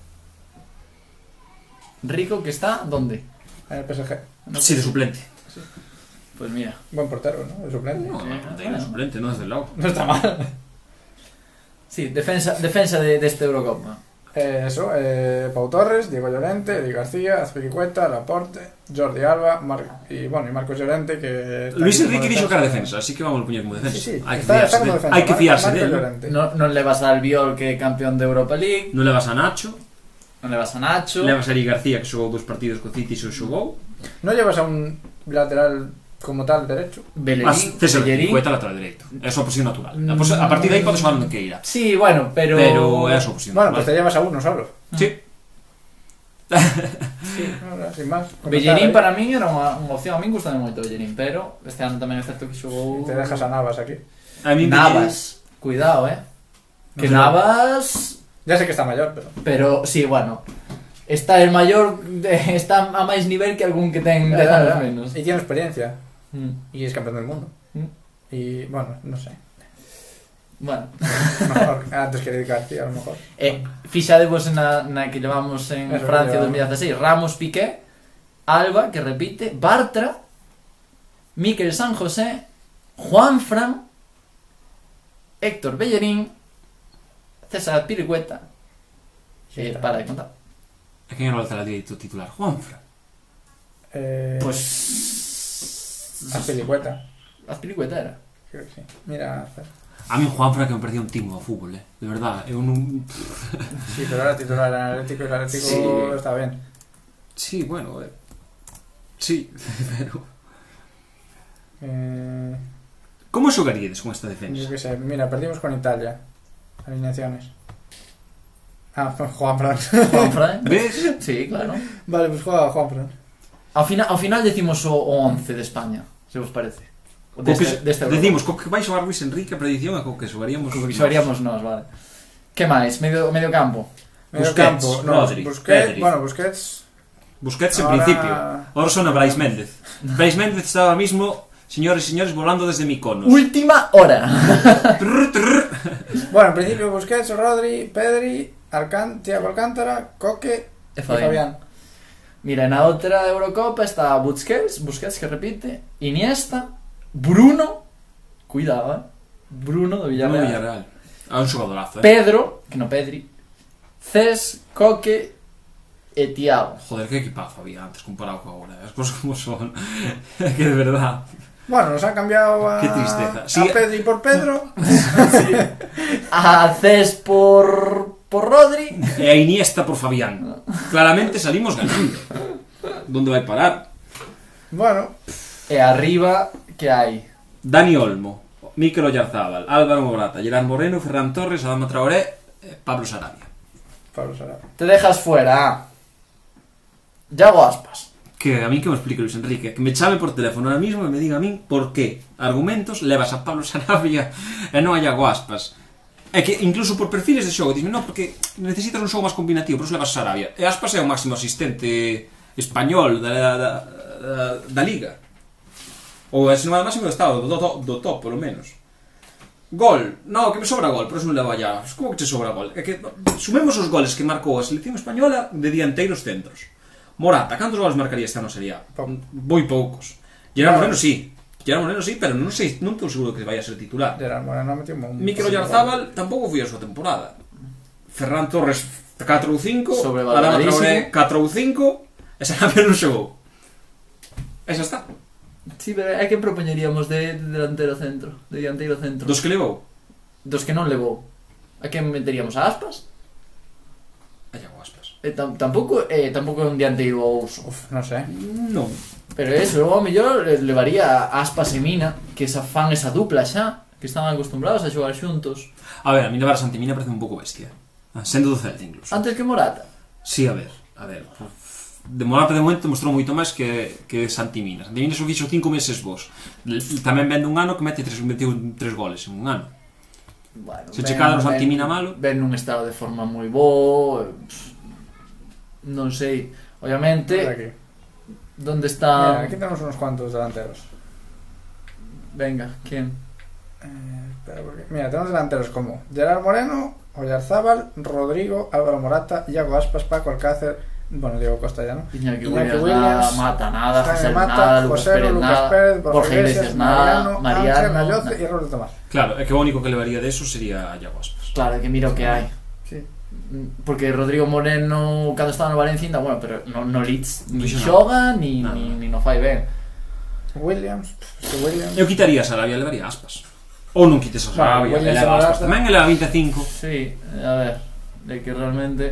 [SPEAKER 3] Rico que está, ¿dónde?
[SPEAKER 1] En el PSG.
[SPEAKER 2] Sí, de suplente.
[SPEAKER 3] Pues mira,
[SPEAKER 1] Buen portero, ¿no? El suplente.
[SPEAKER 2] No,
[SPEAKER 3] eh,
[SPEAKER 2] non ten
[SPEAKER 3] bueno.
[SPEAKER 2] suplente, non desde logo.
[SPEAKER 1] No está mal.
[SPEAKER 3] Sí, defensa, defensa de, desta Eurocopa.
[SPEAKER 1] Eh, eso, eh, Pau Torres, Diego Llorente, Eric García, Azpilicueta, Laporte, Jordi Alba, Mar- y bueno, y Marcos Llorente que... está
[SPEAKER 2] Luis
[SPEAKER 1] aquí como
[SPEAKER 2] Enrique dixo que era defensa, así que vamos a poñer como defensa.
[SPEAKER 1] Sí, sí,
[SPEAKER 2] Hai que
[SPEAKER 1] está,
[SPEAKER 2] fiarse
[SPEAKER 1] está como
[SPEAKER 2] del-
[SPEAKER 1] defensa.
[SPEAKER 2] hai que
[SPEAKER 1] Mar-
[SPEAKER 2] fiarse
[SPEAKER 1] Marcos
[SPEAKER 2] del.
[SPEAKER 1] Llorente.
[SPEAKER 3] No, non levas al Viol que é campeón de Europa League,
[SPEAKER 2] Non levas a Nacho,
[SPEAKER 3] non levas a Nacho,
[SPEAKER 2] levas a Eric García que xogou dous partidos co City e xo xogou.
[SPEAKER 1] ¿No llevas a un lateral como tal derecho?
[SPEAKER 2] Mas
[SPEAKER 3] Bellerín,
[SPEAKER 2] César
[SPEAKER 3] Bellerín.
[SPEAKER 2] Cueta lateral dereito. É a súa posición natural. A, pos a partir de aí podes xogar onde queira.
[SPEAKER 3] Sí, bueno, pero...
[SPEAKER 2] Pero é a súa posición
[SPEAKER 1] Bueno, pues te
[SPEAKER 2] natural.
[SPEAKER 1] llevas a uno solo.
[SPEAKER 2] Sí.
[SPEAKER 1] No, no, sin más.
[SPEAKER 3] Bellerín
[SPEAKER 1] Comentar
[SPEAKER 3] para min era unha, unha opción, a min gustame moito Bellerín, pero este ano tamén é certo que
[SPEAKER 1] ahí.
[SPEAKER 3] xogou...
[SPEAKER 1] Te dejas a Navas aquí.
[SPEAKER 2] A mí
[SPEAKER 3] Navas, cuidado, eh. Que
[SPEAKER 2] No.
[SPEAKER 3] Navas,
[SPEAKER 1] Ya sé que está mayor, pero...
[SPEAKER 3] pero sí, bueno. Está el mayor, de- está a máis nivel que algún que ten de
[SPEAKER 1] Ya, ya, ya.
[SPEAKER 3] anos menos.
[SPEAKER 1] Eh, Y tiene experiencia.
[SPEAKER 3] Mm,
[SPEAKER 1] Y es campeón del mundo.
[SPEAKER 3] Mm.
[SPEAKER 1] Y bueno, no sé.
[SPEAKER 3] Bueno,
[SPEAKER 1] Mejor, antes que Eric García, a lo mejor.
[SPEAKER 3] eh, fixadevos na, na que llevamos en
[SPEAKER 1] Eso que
[SPEAKER 3] Francia
[SPEAKER 1] llevamos.
[SPEAKER 3] 2016, Ramos Piqué, Alba, que repite, Bartra, Miquel San José, Juan Fran, Héctor Bellerín, César Piricueta,
[SPEAKER 1] Sí,
[SPEAKER 3] eh,
[SPEAKER 1] está.
[SPEAKER 3] para de contar.
[SPEAKER 2] A quen era o lateral dereito titular? Juanfra.
[SPEAKER 1] Eh,
[SPEAKER 3] Pues...
[SPEAKER 1] Ah, Azpilicueta,
[SPEAKER 3] Azpilicueta era.
[SPEAKER 1] creo que sí. Mira, Azpilicueta.
[SPEAKER 2] A mí Juanfra que me parecía un timo ao fútbol, eh. De verdad, eu non...
[SPEAKER 1] Sí, pero ahora titular en Atlético y el Atlético
[SPEAKER 2] Sí.
[SPEAKER 1] está bien.
[SPEAKER 2] Sí, bueno, eh. Sí, pero...
[SPEAKER 1] Eh,
[SPEAKER 2] Como xogaríades con esta
[SPEAKER 1] yo
[SPEAKER 2] defensa?
[SPEAKER 1] qué sé, mira, perdimos con Italia. Alineaciones. Ah, Juan Fran.
[SPEAKER 3] Juan Fran.
[SPEAKER 2] Ves?
[SPEAKER 3] Sí, claro.
[SPEAKER 1] vale, pues juega Juan Fran.
[SPEAKER 3] Ao final, ao final decimos o, o 11 de España, se vos parece.
[SPEAKER 2] Co
[SPEAKER 3] O
[SPEAKER 2] que,
[SPEAKER 3] Deste, deste Europa.
[SPEAKER 2] decimos, co que vai xogar Luis Enrique a predición é co que xogaríamos...
[SPEAKER 3] Co que xogaríamos nós, vale. Que máis? Medio, medio campo.
[SPEAKER 1] Medio
[SPEAKER 2] Busquets,
[SPEAKER 1] campo, no,
[SPEAKER 2] Rodri,
[SPEAKER 1] Busquets,
[SPEAKER 2] Pedri.
[SPEAKER 1] bueno, Busquets.
[SPEAKER 2] Busquets en
[SPEAKER 1] ahora-
[SPEAKER 2] principio. Ahora son a Brais Méndez. Brais Méndez está ahora mismo, señores y señores, volando desde Mykonos.
[SPEAKER 3] Última hora.
[SPEAKER 2] Trrr, trrr.
[SPEAKER 1] Bueno, en principio Busquets, Rodri, Pedri, Alcán, Tiago Alcántara, Coque
[SPEAKER 3] E
[SPEAKER 1] y
[SPEAKER 3] Fabián.
[SPEAKER 1] Fabián.
[SPEAKER 3] Mira, na outra Eurocopa está Busquets, Busquets que repite, Iniesta, Bruno, cuidado, eh? Bruno do
[SPEAKER 2] No,
[SPEAKER 3] Villarreal,
[SPEAKER 2] Villarreal. Ah, un xogadorazo, eh.
[SPEAKER 3] Pedro, que no Pedri, Cés, Coque e Tiago.
[SPEAKER 2] Joder, que equipazo había antes comparado con ahora. eh. As cosas como son. que de verdad.
[SPEAKER 1] Bueno, nos han cambiado a,
[SPEAKER 2] Qué tristeza.
[SPEAKER 1] a
[SPEAKER 2] Sí.
[SPEAKER 1] Pedri por Pedro.
[SPEAKER 3] A Cés por, por Rodri,
[SPEAKER 2] E a Iniesta por Fabián. Claramente salimos ganando. ¿Dónde vai parar?
[SPEAKER 1] bueno,
[SPEAKER 3] E arriba, que hai?
[SPEAKER 2] Dani Olmo, Mikel Oyarzábal, Álvaro Morata, Gerard Moreno, Ferran Torres, Adama Traoré, eh, Pablo Sarabia.
[SPEAKER 1] Pablo Sarabia.
[SPEAKER 3] Te dejas fuera a... Yago Aspas.
[SPEAKER 2] Que a mí que me explique Luis Enrique, que me chame por teléfono ahora mismo e me diga a min por qué argumentos levas a Pablo Sarabia e non a Iago Aspas. É que incluso por perfiles de xogo, dime, no, porque necesitas un xogo máis combinativo, por iso levas a Sarabia. E Aspas é o máximo asistente español da, da, da, da, da liga. Ou é se non é o máximo do estado, do, do, do top, polo menos. Gol, no, que me sobra gol, pero eso non leva ya. Como que che sobra gol? É que sumemos os goles que marcou a selección española de dianteiros centros. Morata, cantos goles marcaría esta non sería?
[SPEAKER 1] Pouco.
[SPEAKER 2] Moi poucos. Gerard Moreno sí. Gerard Moreno sí, pero non sei, non estou seguro que vaya a ser titular.
[SPEAKER 1] Gerard Moreno metió un...
[SPEAKER 2] Mikel Oyarzabal tampouco foi a súa temporada. Ferran Torres 4 ou 5, Adama
[SPEAKER 3] Sobrevaloradísimo.
[SPEAKER 2] Traoré 4 ou 5, e Sarabia non xogou. E xa está.
[SPEAKER 3] Sí, pero é que propoñeríamos de, de delantero centro, de dianteiro centro.
[SPEAKER 2] Dos que levou.
[SPEAKER 3] dos que non levou. A que meteríamos a Aspas?
[SPEAKER 2] E Iago Aspas.
[SPEAKER 3] E tam, tampouco, eh, tampouco é un dianteiro ouso.
[SPEAKER 1] Uf, no sé.
[SPEAKER 2] Non.
[SPEAKER 3] Pero eso, eu ao mellor eh, levaría a Aspas e Mina, que esa fan esa dupla xa. que están acostumbrados a xogar xuntos
[SPEAKER 2] A ver, a mí Navarra Santimina parece un pouco bestia. Ah, Sendo do Celta, incluso.
[SPEAKER 3] antes que Morata.
[SPEAKER 2] Sí, a ver, a ver. De Morata de momento mostrou moito máis que, que Santimina. Santimina só fixo cinco meses vos. L- Tamén vende un ano que mete tres, meteu tres goles en un ano.
[SPEAKER 3] Bueno,
[SPEAKER 2] Se che cadra o Santimina malo.
[SPEAKER 3] Ven nun estado de forma moi bo, eh, pff, non sei,
[SPEAKER 1] Mira
[SPEAKER 3] obviamente,
[SPEAKER 1] aquí. Mira,
[SPEAKER 3] onde está...
[SPEAKER 1] aquí tenemos unos cuantos delanteros.
[SPEAKER 3] Venga, quen?
[SPEAKER 1] Eh, espera, porque- Mira, tenemos delanteros como Gerard Moreno, Oyarzábal, Rodrigo, Álvaro Morata, Iago Aspas, Paco Alcácer, bueno, Diego Costa ya, ¿no?
[SPEAKER 3] Iñaki
[SPEAKER 1] Iñaki
[SPEAKER 3] Williams,
[SPEAKER 1] Williams,
[SPEAKER 3] nada, Mata nada,
[SPEAKER 1] Jaime
[SPEAKER 3] José
[SPEAKER 1] Mata,
[SPEAKER 3] nada, Lucas
[SPEAKER 1] José,
[SPEAKER 3] Pérez
[SPEAKER 1] Lucas
[SPEAKER 3] nada,
[SPEAKER 1] Pérez, Borja
[SPEAKER 3] Borja
[SPEAKER 1] Iglesias,
[SPEAKER 3] Iglesias nada,
[SPEAKER 1] Mariano, Ángel
[SPEAKER 3] Mariano,
[SPEAKER 1] Ayoce
[SPEAKER 3] nada.
[SPEAKER 1] y Roberto Tomás.
[SPEAKER 2] Claro, é que o único que levaría de eso sería a Iago Aspas.
[SPEAKER 3] Claro, que mira o que hai.
[SPEAKER 1] Sí.
[SPEAKER 3] Porque Rodrigo Moreno, cando estaba no Valencia, ainda, bueno, pero no, no Leeds ni
[SPEAKER 2] Dixo
[SPEAKER 3] xoga, ni,
[SPEAKER 2] Nada.
[SPEAKER 3] ni, ni no fai ben.
[SPEAKER 1] Williams, pff, es que Williams.
[SPEAKER 2] Eu quitaría a Sarabia e levaría a Aspas. Ou non quites a Sarabia,
[SPEAKER 1] Bueno,
[SPEAKER 2] e
[SPEAKER 1] Williams
[SPEAKER 2] leva a Aspas.
[SPEAKER 1] Morata.
[SPEAKER 2] Tamén eleva a 25.
[SPEAKER 3] Sí, a ver, de que realmente...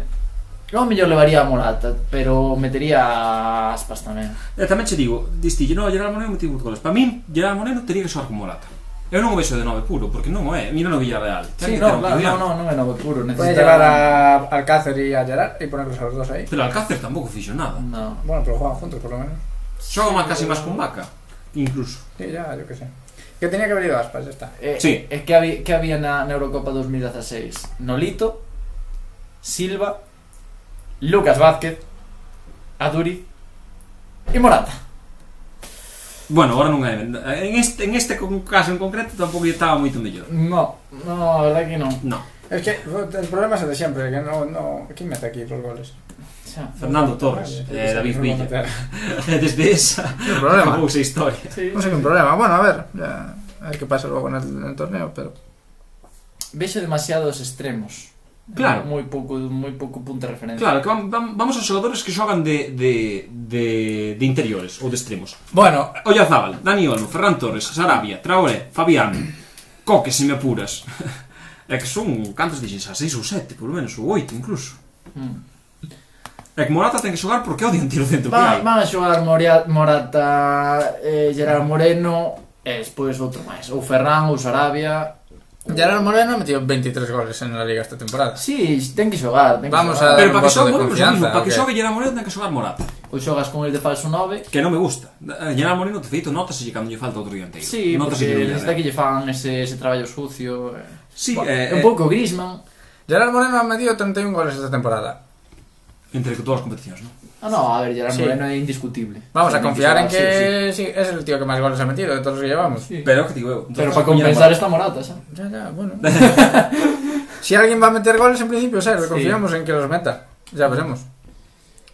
[SPEAKER 3] Logo mellor levaría a Morata, pero metería a Aspas tamén.
[SPEAKER 2] E tamén che digo, distille, no, Gerard Moreno metiu os goles. Para min, Gerard Moreno teria que xogar con Morata. Eu non o vexo de 9 puro, porque non o é. Mira no Villarreal. Ten que ter
[SPEAKER 3] Sí,
[SPEAKER 2] un
[SPEAKER 3] no, claro,
[SPEAKER 2] cuidado.
[SPEAKER 3] no, no, non é novo puro, necesita...
[SPEAKER 1] Puede llevar a Alcácer y a Gerard y ponerlos a los dos ahí.
[SPEAKER 2] Pero Alcácer tampouco fixo nada.
[SPEAKER 3] No.
[SPEAKER 1] Bueno, pero juegan juntos por lo menos.
[SPEAKER 2] Xoga máis casi máis con Vaca, incluso.
[SPEAKER 1] Sí, ya, yo qué sé. Que tenía que haber ido Aspas, ya está.
[SPEAKER 3] Eh,
[SPEAKER 2] Sí.
[SPEAKER 3] eh, que, había, que había na, na Eurocopa 2016? Nolito, Silva, Lucas Vázquez, Aduri e Morata.
[SPEAKER 2] Bueno, agora non é. En este, en este con- caso en concreto tampouco lle estaba moito mellor.
[SPEAKER 3] No, no, a verdad que non.
[SPEAKER 2] Non.
[SPEAKER 1] Es que el problema es el de siempre, que no, no. ¿Quién mete aquí los goles?
[SPEAKER 3] Xa.
[SPEAKER 2] Fernando Torres, eh, David Villa. Desde esa
[SPEAKER 1] El
[SPEAKER 2] acabou esa historia.
[SPEAKER 3] Sí.
[SPEAKER 1] No sé qué problema. Bueno, a ver, ya, a ver qué pasa luego en el, en el torneo, pero.
[SPEAKER 3] Vexo demasiados extremos.
[SPEAKER 2] Claro.
[SPEAKER 3] Moi pouco, moi pouco punto de referencia.
[SPEAKER 2] Claro, que vam, vam, vamos aos xogadores que xogan de, de, de, de interiores ou de extremos.
[SPEAKER 1] Bueno,
[SPEAKER 2] Oyarzabal, Dani Olmo, Ferran Torres, Sarabia, Traoré, Fabián, Coque, se me apuras. É que son, cantos dixen, xa, seis ou sete, por lo menos, ou oito incluso.
[SPEAKER 3] Mm.
[SPEAKER 2] É que Morata ten que xogar porque é o dianteiro centro que hai.
[SPEAKER 3] Van, van a xogar Moria, Morata, eh, Gerard Moreno, eh, e despois outro máis. Ou Ferran, ou Sarabia...
[SPEAKER 1] Gerard Moreno ha metido 23 goles en la liga esta temporada.
[SPEAKER 3] Sí, ten que xogar, ten que
[SPEAKER 1] Vamos
[SPEAKER 3] xogar.
[SPEAKER 1] a-
[SPEAKER 2] Pero
[SPEAKER 1] un
[SPEAKER 2] para que
[SPEAKER 1] voto
[SPEAKER 2] xogue
[SPEAKER 1] de
[SPEAKER 2] Moreno, é o mismo,
[SPEAKER 1] confianza,
[SPEAKER 2] para
[SPEAKER 1] ¿o
[SPEAKER 2] que
[SPEAKER 1] qué?
[SPEAKER 2] xogue Gerard Moreno ten que xogar Morata.
[SPEAKER 3] Ou xogas con el de falso 9,
[SPEAKER 2] Que non me gusta. Eh, Gerard Moreno, de feito, notase lle cando lle falta outro dianteiro.
[SPEAKER 3] Sí,
[SPEAKER 2] notase
[SPEAKER 3] porque
[SPEAKER 2] lle
[SPEAKER 3] necesita que lle fagan ese, ese traballo sucio. eh.
[SPEAKER 2] Sí,
[SPEAKER 3] Bueno,
[SPEAKER 2] eh,
[SPEAKER 3] un
[SPEAKER 2] eh,
[SPEAKER 3] pouco Griezmann.
[SPEAKER 1] Gerard Moreno ha metido 31 goles esta temporada.
[SPEAKER 2] Entre todas as competicións, non?
[SPEAKER 3] Ah, no, a ver, Gerard
[SPEAKER 1] Sí.
[SPEAKER 3] Moreno é indiscutible.
[SPEAKER 1] Vamos a
[SPEAKER 3] Tiene
[SPEAKER 1] confiar en
[SPEAKER 3] xogar, sí,
[SPEAKER 1] que sí, es el tío que más goles ha metido de todos los que llevamos.
[SPEAKER 3] sí.
[SPEAKER 2] Pero é o que digo eu. Entonces,
[SPEAKER 3] Pero para
[SPEAKER 2] coño,
[SPEAKER 3] compensar
[SPEAKER 2] Morata.
[SPEAKER 3] esta morata, xa.
[SPEAKER 1] Ya, ya, bueno. si alguien va a meter goles, en principio es él. Confiamos en que los meta. Ya veremos.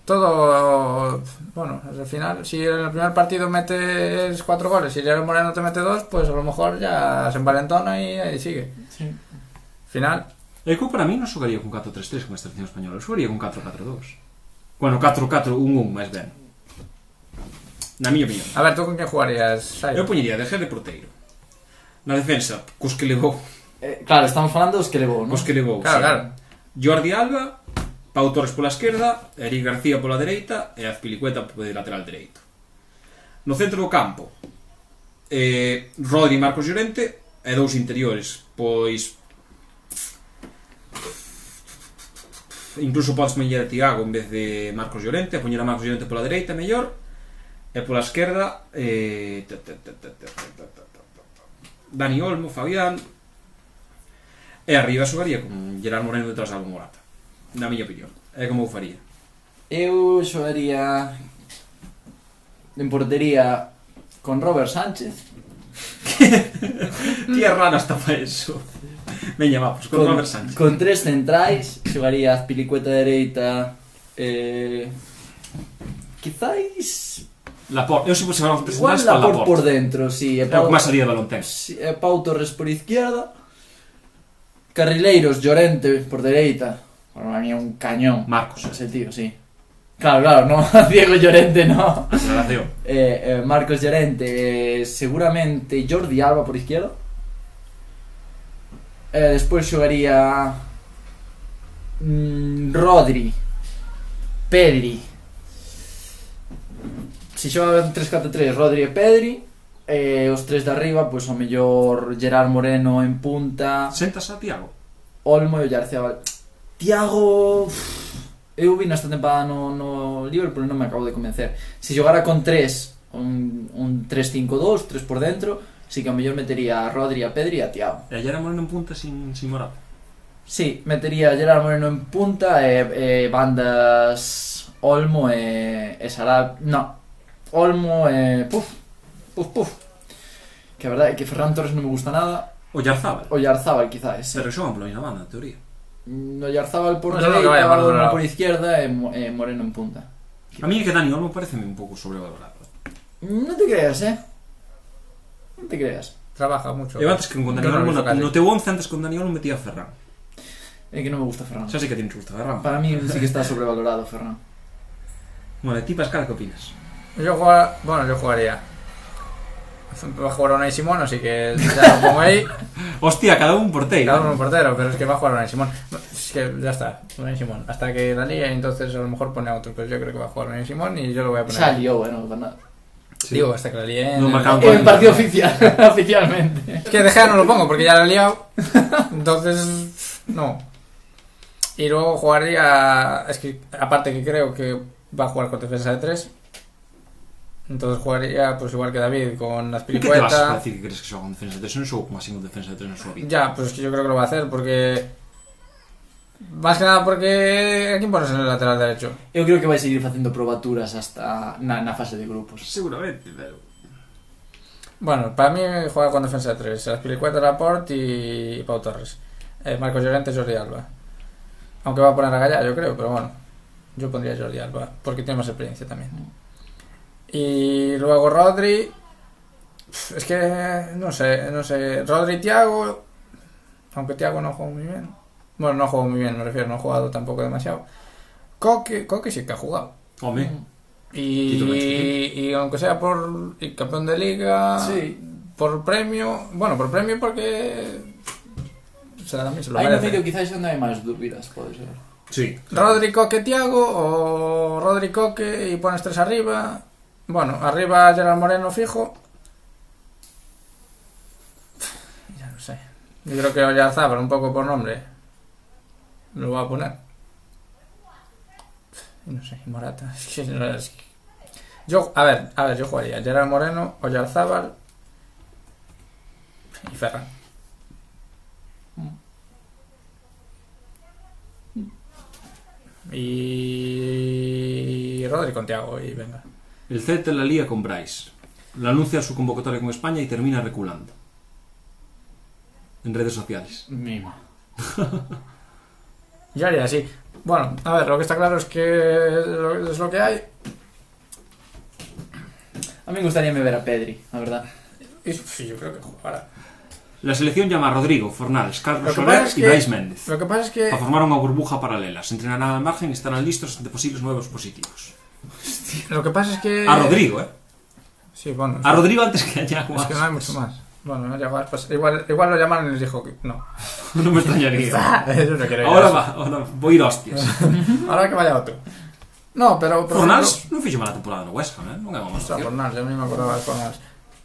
[SPEAKER 1] Todo. Bueno, al final, si en el primer partido metes cuatro goles y Gerard Moreno te mete dos, pues a lo mejor ya se envalentona y ahí sigue.
[SPEAKER 3] Sí.
[SPEAKER 1] Final.
[SPEAKER 2] E que para mí non xogaría con 4-3-3 con esta selección española, eu xogaría con 4-4-2. Bueno, 4-4-1-1, máis ben. Na miña opinión.
[SPEAKER 1] A ver, ¿tú con quién jugarías, Sayo?
[SPEAKER 2] Eu poñería de de porteiro. Na defensa, cos que levou,
[SPEAKER 3] Eh, claro, estamos falando dos que levou, non?
[SPEAKER 2] cos que levou.
[SPEAKER 1] Claro,
[SPEAKER 2] sí.
[SPEAKER 1] claro.
[SPEAKER 2] Jordi Alba, Pau Torres pola esquerda, Eric García pola dereita e Azpilicueta de lateral dereito. No centro do campo, eh, Rodri e Marcos Llorente e dous interiores, pois incluso podes poñer a Tiago en vez de Marcos Llorente, e poñer a Marcos Llorente pola dereita mellor, e pola esquerda eh, ta, ta, ta, ta, ta, ta, ta, ta, ta, ta. Dani Olmo, Fabián, E arriba xogaría con Gerard Moreno detrás de Alba Morata. Na miña opinión. É como eu faría.
[SPEAKER 3] Eu xogaría en portería con Robert Sánchez,
[SPEAKER 2] Tía rara está para eso. Veña, va, pois con Robert Sánchez.
[SPEAKER 3] con tres centrais, xogaría Azpilicueta dereita, eh, quizáis
[SPEAKER 2] Laporte. Eu se fosse a presentar
[SPEAKER 3] Igual
[SPEAKER 2] para
[SPEAKER 3] Laporte por,
[SPEAKER 2] Laporte.
[SPEAKER 3] por dentro, sí.
[SPEAKER 2] É
[SPEAKER 3] E
[SPEAKER 2] o
[SPEAKER 3] Pau,
[SPEAKER 2] que máis sería de Balontén.
[SPEAKER 3] sí, e Pau Torres por izquierda. Carrileiros, Llorente por dereita. Bueno, a mí é un cañón.
[SPEAKER 2] Marcos, eh,
[SPEAKER 3] Ese tío, sí. Claro, claro, no. Diego Llorente, no.
[SPEAKER 2] se la CEO.
[SPEAKER 3] Eh, eh, Marcos Llorente, eh, seguramente Jordi Alba por izquierda. Eh, despois xogaría mm, Rodri, Pedri. Se xogaban 3-4-3, Rodri e Pedri. E eh, os tres de arriba, pois ao mellor Gerard Moreno en punta,
[SPEAKER 2] Sentas a Tiago?
[SPEAKER 3] Olmo e o Yarzábal. Tiago... Eu vi nesta temporada no, no Liverpool, non me acabo de convencer. Se xogara con tres, un, un 3-5-2, tres por dentro, si que ao mellor metería a Rodri, a Pedri e a Tiago.
[SPEAKER 2] E ayer a Moreno en punta sin, sin morado.
[SPEAKER 3] Sí, metería a Gerard Moreno en punta e, e bandas Olmo e, e Sarab... No, Olmo e... Puf, puf, puf. Que a verdade é que Ferran Torres non me gusta nada.
[SPEAKER 2] O Yarzábal.
[SPEAKER 3] O Yarzábal, quizáis. Sí.
[SPEAKER 2] Pero xogan pola mesma banda, en teoría.
[SPEAKER 3] No Yarzábal por
[SPEAKER 1] Pero
[SPEAKER 3] dereita,
[SPEAKER 1] no, vaya, para
[SPEAKER 3] Olmo
[SPEAKER 1] Dorado.
[SPEAKER 3] por izquierda e, Mo- e Moreno en punta.
[SPEAKER 2] A mí é que Dani Olmo parece un pouco sobrevalorado.
[SPEAKER 3] Non te creas, eh? Non te creas.
[SPEAKER 1] Trabaja mucho.
[SPEAKER 2] Eu antes que con Dani
[SPEAKER 1] Yo no lo
[SPEAKER 2] Olmo,
[SPEAKER 1] hizo
[SPEAKER 2] no,
[SPEAKER 1] casi.
[SPEAKER 2] no teu 11 antes con Dani Olmo metía a Ferran.
[SPEAKER 3] É que non me gusta Ferran.
[SPEAKER 2] Xa sei que tienes gusto, Ferran.
[SPEAKER 3] Para mí sí que está sobrevalorado Ferran.
[SPEAKER 2] Bueno, e ti, Pascal, que opinas?
[SPEAKER 1] Yo jugaba- bueno, yo jugaría. Va a jugar Unai Simón, así que ya lo pongo ahí.
[SPEAKER 2] Hostia, cada un porteiro. eh.
[SPEAKER 1] Cada uno un portero, pero es que va a jugar Unai Simón. Es que ya está, Unai Simón. Hasta que la liga, entonces a lo mejor pone a otro, pero yo creo que va a jugar Unai Simón y yo lo voy a poner.
[SPEAKER 3] Xa liou, eh, non para nada.
[SPEAKER 1] Digo, hasta que la liga.
[SPEAKER 2] No marcaba un
[SPEAKER 3] En partido oficial, oficialmente.
[SPEAKER 1] Es que de Gea no lo pongo porque ya lo he liado. Entonces, no. Y luego jugaría. Es que, aparte que creo que va a jugar con defensa de 3. Entonces jugaría, pues igual que David, con
[SPEAKER 2] E que te vas
[SPEAKER 1] Aspiricueta.
[SPEAKER 2] a decir que crees que xoga un defensa de 3? Non xogo como así un defensa de 3 na súa vida.
[SPEAKER 1] Ya, pues es que yo creo que lo va a hacer porque. Más que nada porque. ¿A quién pones en el lateral derecho?
[SPEAKER 3] Eu creo que vai seguir facendo probaturas hasta na, na fase de grupos.
[SPEAKER 2] Seguramente, pero...
[SPEAKER 1] Bueno, para mí juega con defensa de 3. Aspiricueta, Laporte y Pau Torres. Eh, Marcos Llorente, Jordi Alba. Aunque va a poner a Gallá, yo creo, pero bueno. Yo pondría Jordi Alba, porque tiene más experiencia también. Y luego Rodri. Pf, Es que no sé, no sé. Rodri y Tiago. Aunque Tiago no juega muy bien. Bueno, no juega muy bien, me refiero, no ha jugado tampoco demasiado. Coque, Coque sí que ha jugado.
[SPEAKER 2] Home,
[SPEAKER 1] Y,
[SPEAKER 2] Título
[SPEAKER 1] y aunque sea por y campeón de liga,
[SPEAKER 3] Sí.
[SPEAKER 1] por premio, bueno, por premio porque se la también se lo
[SPEAKER 3] Aí no
[SPEAKER 1] merece.
[SPEAKER 3] medio quizás onde hai máis dúbidas, pode ser.
[SPEAKER 2] sí.
[SPEAKER 1] Rodri Coque Tiago o Rodri Coque y pones tres arriba. Bueno, arriba Gerard Moreno fijo. Ya no sé. Yo creo que Oyarzabal un poco por nombre. Lo voy a poner. Y No sé, y Morata. Es que no es- Yo, a ver, a ver, yo jugaría Gerard Moreno, Oyarzábal y Ferran. Y Rodri con Tiago y venga.
[SPEAKER 2] El Celta la lía con Bryce. Lo anuncia su convocatoria con España y termina reculando. En redes sociales.
[SPEAKER 3] Mima.
[SPEAKER 1] Yo haría así. Bueno, a ver, lo que está claro es que es lo que hay.
[SPEAKER 3] A mí gustaría me ver a Pedri, a verdad.
[SPEAKER 1] Y sí, yo creo que jugará.
[SPEAKER 2] La selección llama a Rodrigo, Fornals,
[SPEAKER 1] Lo
[SPEAKER 2] Carlos
[SPEAKER 1] que
[SPEAKER 2] Soler
[SPEAKER 1] pasa es
[SPEAKER 2] y
[SPEAKER 1] que- eh,
[SPEAKER 2] Bryce Méndez.
[SPEAKER 1] Lo que pasa es que.
[SPEAKER 2] Para formar una burbuja paralela. Se entrenarán al margen y estarán listos ante posibles nuevos positivos.
[SPEAKER 1] Lo que pasa es que.
[SPEAKER 2] A Rodrigo, ¿eh?
[SPEAKER 1] Sí, bueno.
[SPEAKER 2] A Rodrigo antes que a Iago
[SPEAKER 1] Es que no hay mucho
[SPEAKER 2] Aspas.
[SPEAKER 1] más. Bueno, no llamas, pues, igual, igual lo llaman y les dijo que no.
[SPEAKER 2] No me extrañaría.
[SPEAKER 1] Eso no quiero ir a
[SPEAKER 2] Ahora
[SPEAKER 1] eso.
[SPEAKER 2] va, ahora voy a ir a hostias.
[SPEAKER 1] Ahora que vaya otro. No, pero. por
[SPEAKER 2] Fornals non fixo mala temporada no West Ham, eh? Non é unha mala
[SPEAKER 1] Ostras,
[SPEAKER 2] opción.
[SPEAKER 1] Fornals, yo ni me acordaba de Fornals.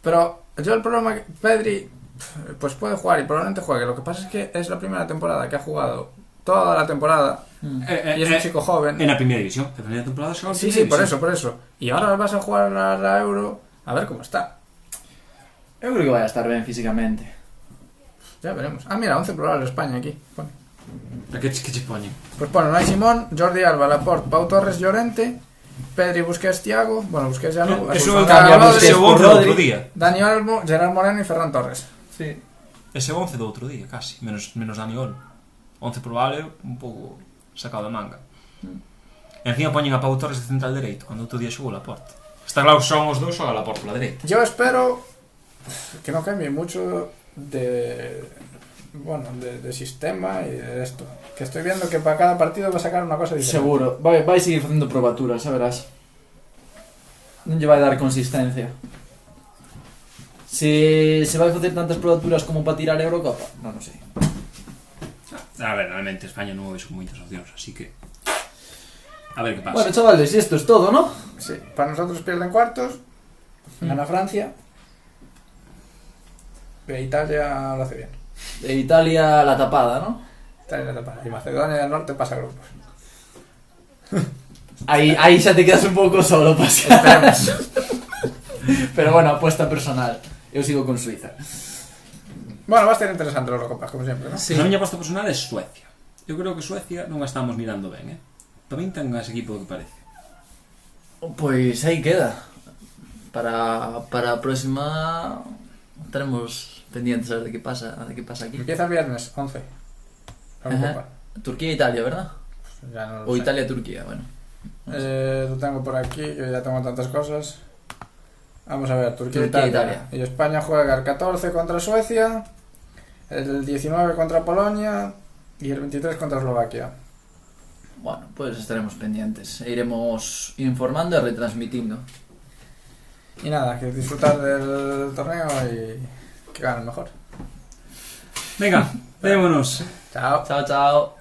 [SPEAKER 1] Pero yo el problema que Pedri, pf, pues puede jugar y probablemente juegue. Lo que pasa es que es la primera temporada que ha jugado toda la temporada
[SPEAKER 2] Eh, eh,
[SPEAKER 1] y es un
[SPEAKER 2] eh,
[SPEAKER 1] chico joven.
[SPEAKER 2] En la primera división. En la primera temporada xogou en
[SPEAKER 1] Sí, sí,
[SPEAKER 2] primeira
[SPEAKER 1] por
[SPEAKER 2] división.
[SPEAKER 1] eso, por eso. Y ahora vas a jugar a la Euro a ver cómo está.
[SPEAKER 3] Eu creo que vai a estar ben físicamente.
[SPEAKER 1] Ya veremos. Ah, mira, 11 probables España aquí. Pone.
[SPEAKER 2] A Que, que che poñen.
[SPEAKER 1] Pues bueno, Unai Simón, Jordi Alba, Laporte, Pau Torres, Llorente, Pedri, Busquets, Thiago. Bueno, Busquets ya no.
[SPEAKER 2] Eh, Eso
[SPEAKER 1] Expulsado
[SPEAKER 2] cambiamos
[SPEAKER 1] Alaba,
[SPEAKER 2] ese
[SPEAKER 1] Rodri,
[SPEAKER 2] once do outro
[SPEAKER 1] Rodri,
[SPEAKER 2] día.
[SPEAKER 1] Dani Olmo, Gerard Moreno y Ferran Torres.
[SPEAKER 3] Sí.
[SPEAKER 2] Ese 11 do outro día, casi. Menos, menos Dani Olmo. 11 probable, un pouco sacado da manga. E encima poñen a Pau Torres de central dereito, cando outro día xogou Laporte. Está claro, son os dous xoga Laporte pola dereita.
[SPEAKER 1] Yo espero pues, que no cambie mucho de. Bueno, de, de sistema y de esto. Que estoy viendo que para cada partido va a sacar una cosa diferente.
[SPEAKER 3] Seguro. Vai, vai seguir facendo probaturas, xa verás. Non lle vai dar consistencia. Se, se vai facer tantas probaturas como para tirar a Eurocopa? Non, non sei.
[SPEAKER 2] A ver, realmente España non houve con moitas opcións, así que... A ver que pasa.
[SPEAKER 3] Bueno, chavales, isto é todo, non? Hmm.
[SPEAKER 1] Sí, para nosotros pierden cuartos, gana Francia E Italia lo hace bien.
[SPEAKER 3] E Italia la tapada, ¿no?
[SPEAKER 1] Italia la tapa. Y Macedonia del Norte pasa grupos.
[SPEAKER 3] Ahí, ahí ya te quedas un pouco solo, Pascal. Pero bueno, apuesta personal. Eu sigo con Suiza.
[SPEAKER 1] Bueno, va a ser interesante los copas, como siempre, ¿no?
[SPEAKER 2] Sí. Pois a miña aposta personal é Suecia. Eu creo que Suecia non a estamos mirando ben, eh? Tamén ten ese equipo do que parece.
[SPEAKER 3] Pois aí pues queda. Para, para a próxima estaremos pendientes a ver de que pasa, a ver que pasa aquí.
[SPEAKER 1] Empieza el viernes 11. La
[SPEAKER 3] Ajá.
[SPEAKER 1] Eurocopa. Pues
[SPEAKER 3] Turquía e Italia, ¿verdad?
[SPEAKER 1] Ya no lo
[SPEAKER 3] Ou
[SPEAKER 1] sé.
[SPEAKER 3] Italia e Turquía, bueno.
[SPEAKER 1] Eh, lo tengo por aquí, yo ya tengo tantas cosas. Vamos a ver, Turquía,
[SPEAKER 3] Turquía,
[SPEAKER 1] Italia.
[SPEAKER 3] Italia.
[SPEAKER 1] Y España juega el 14 contra Suecia, el 19 contra Polonia y el 23 contra Eslovaquia.
[SPEAKER 3] Bueno, pois estaremos pendientes. E iremos informando e retransmitindo.
[SPEAKER 1] Y nada, que disfrutar del torneo y que ganen mejor.
[SPEAKER 2] Venga, vémonos.
[SPEAKER 1] Chao.
[SPEAKER 3] Chao, chao.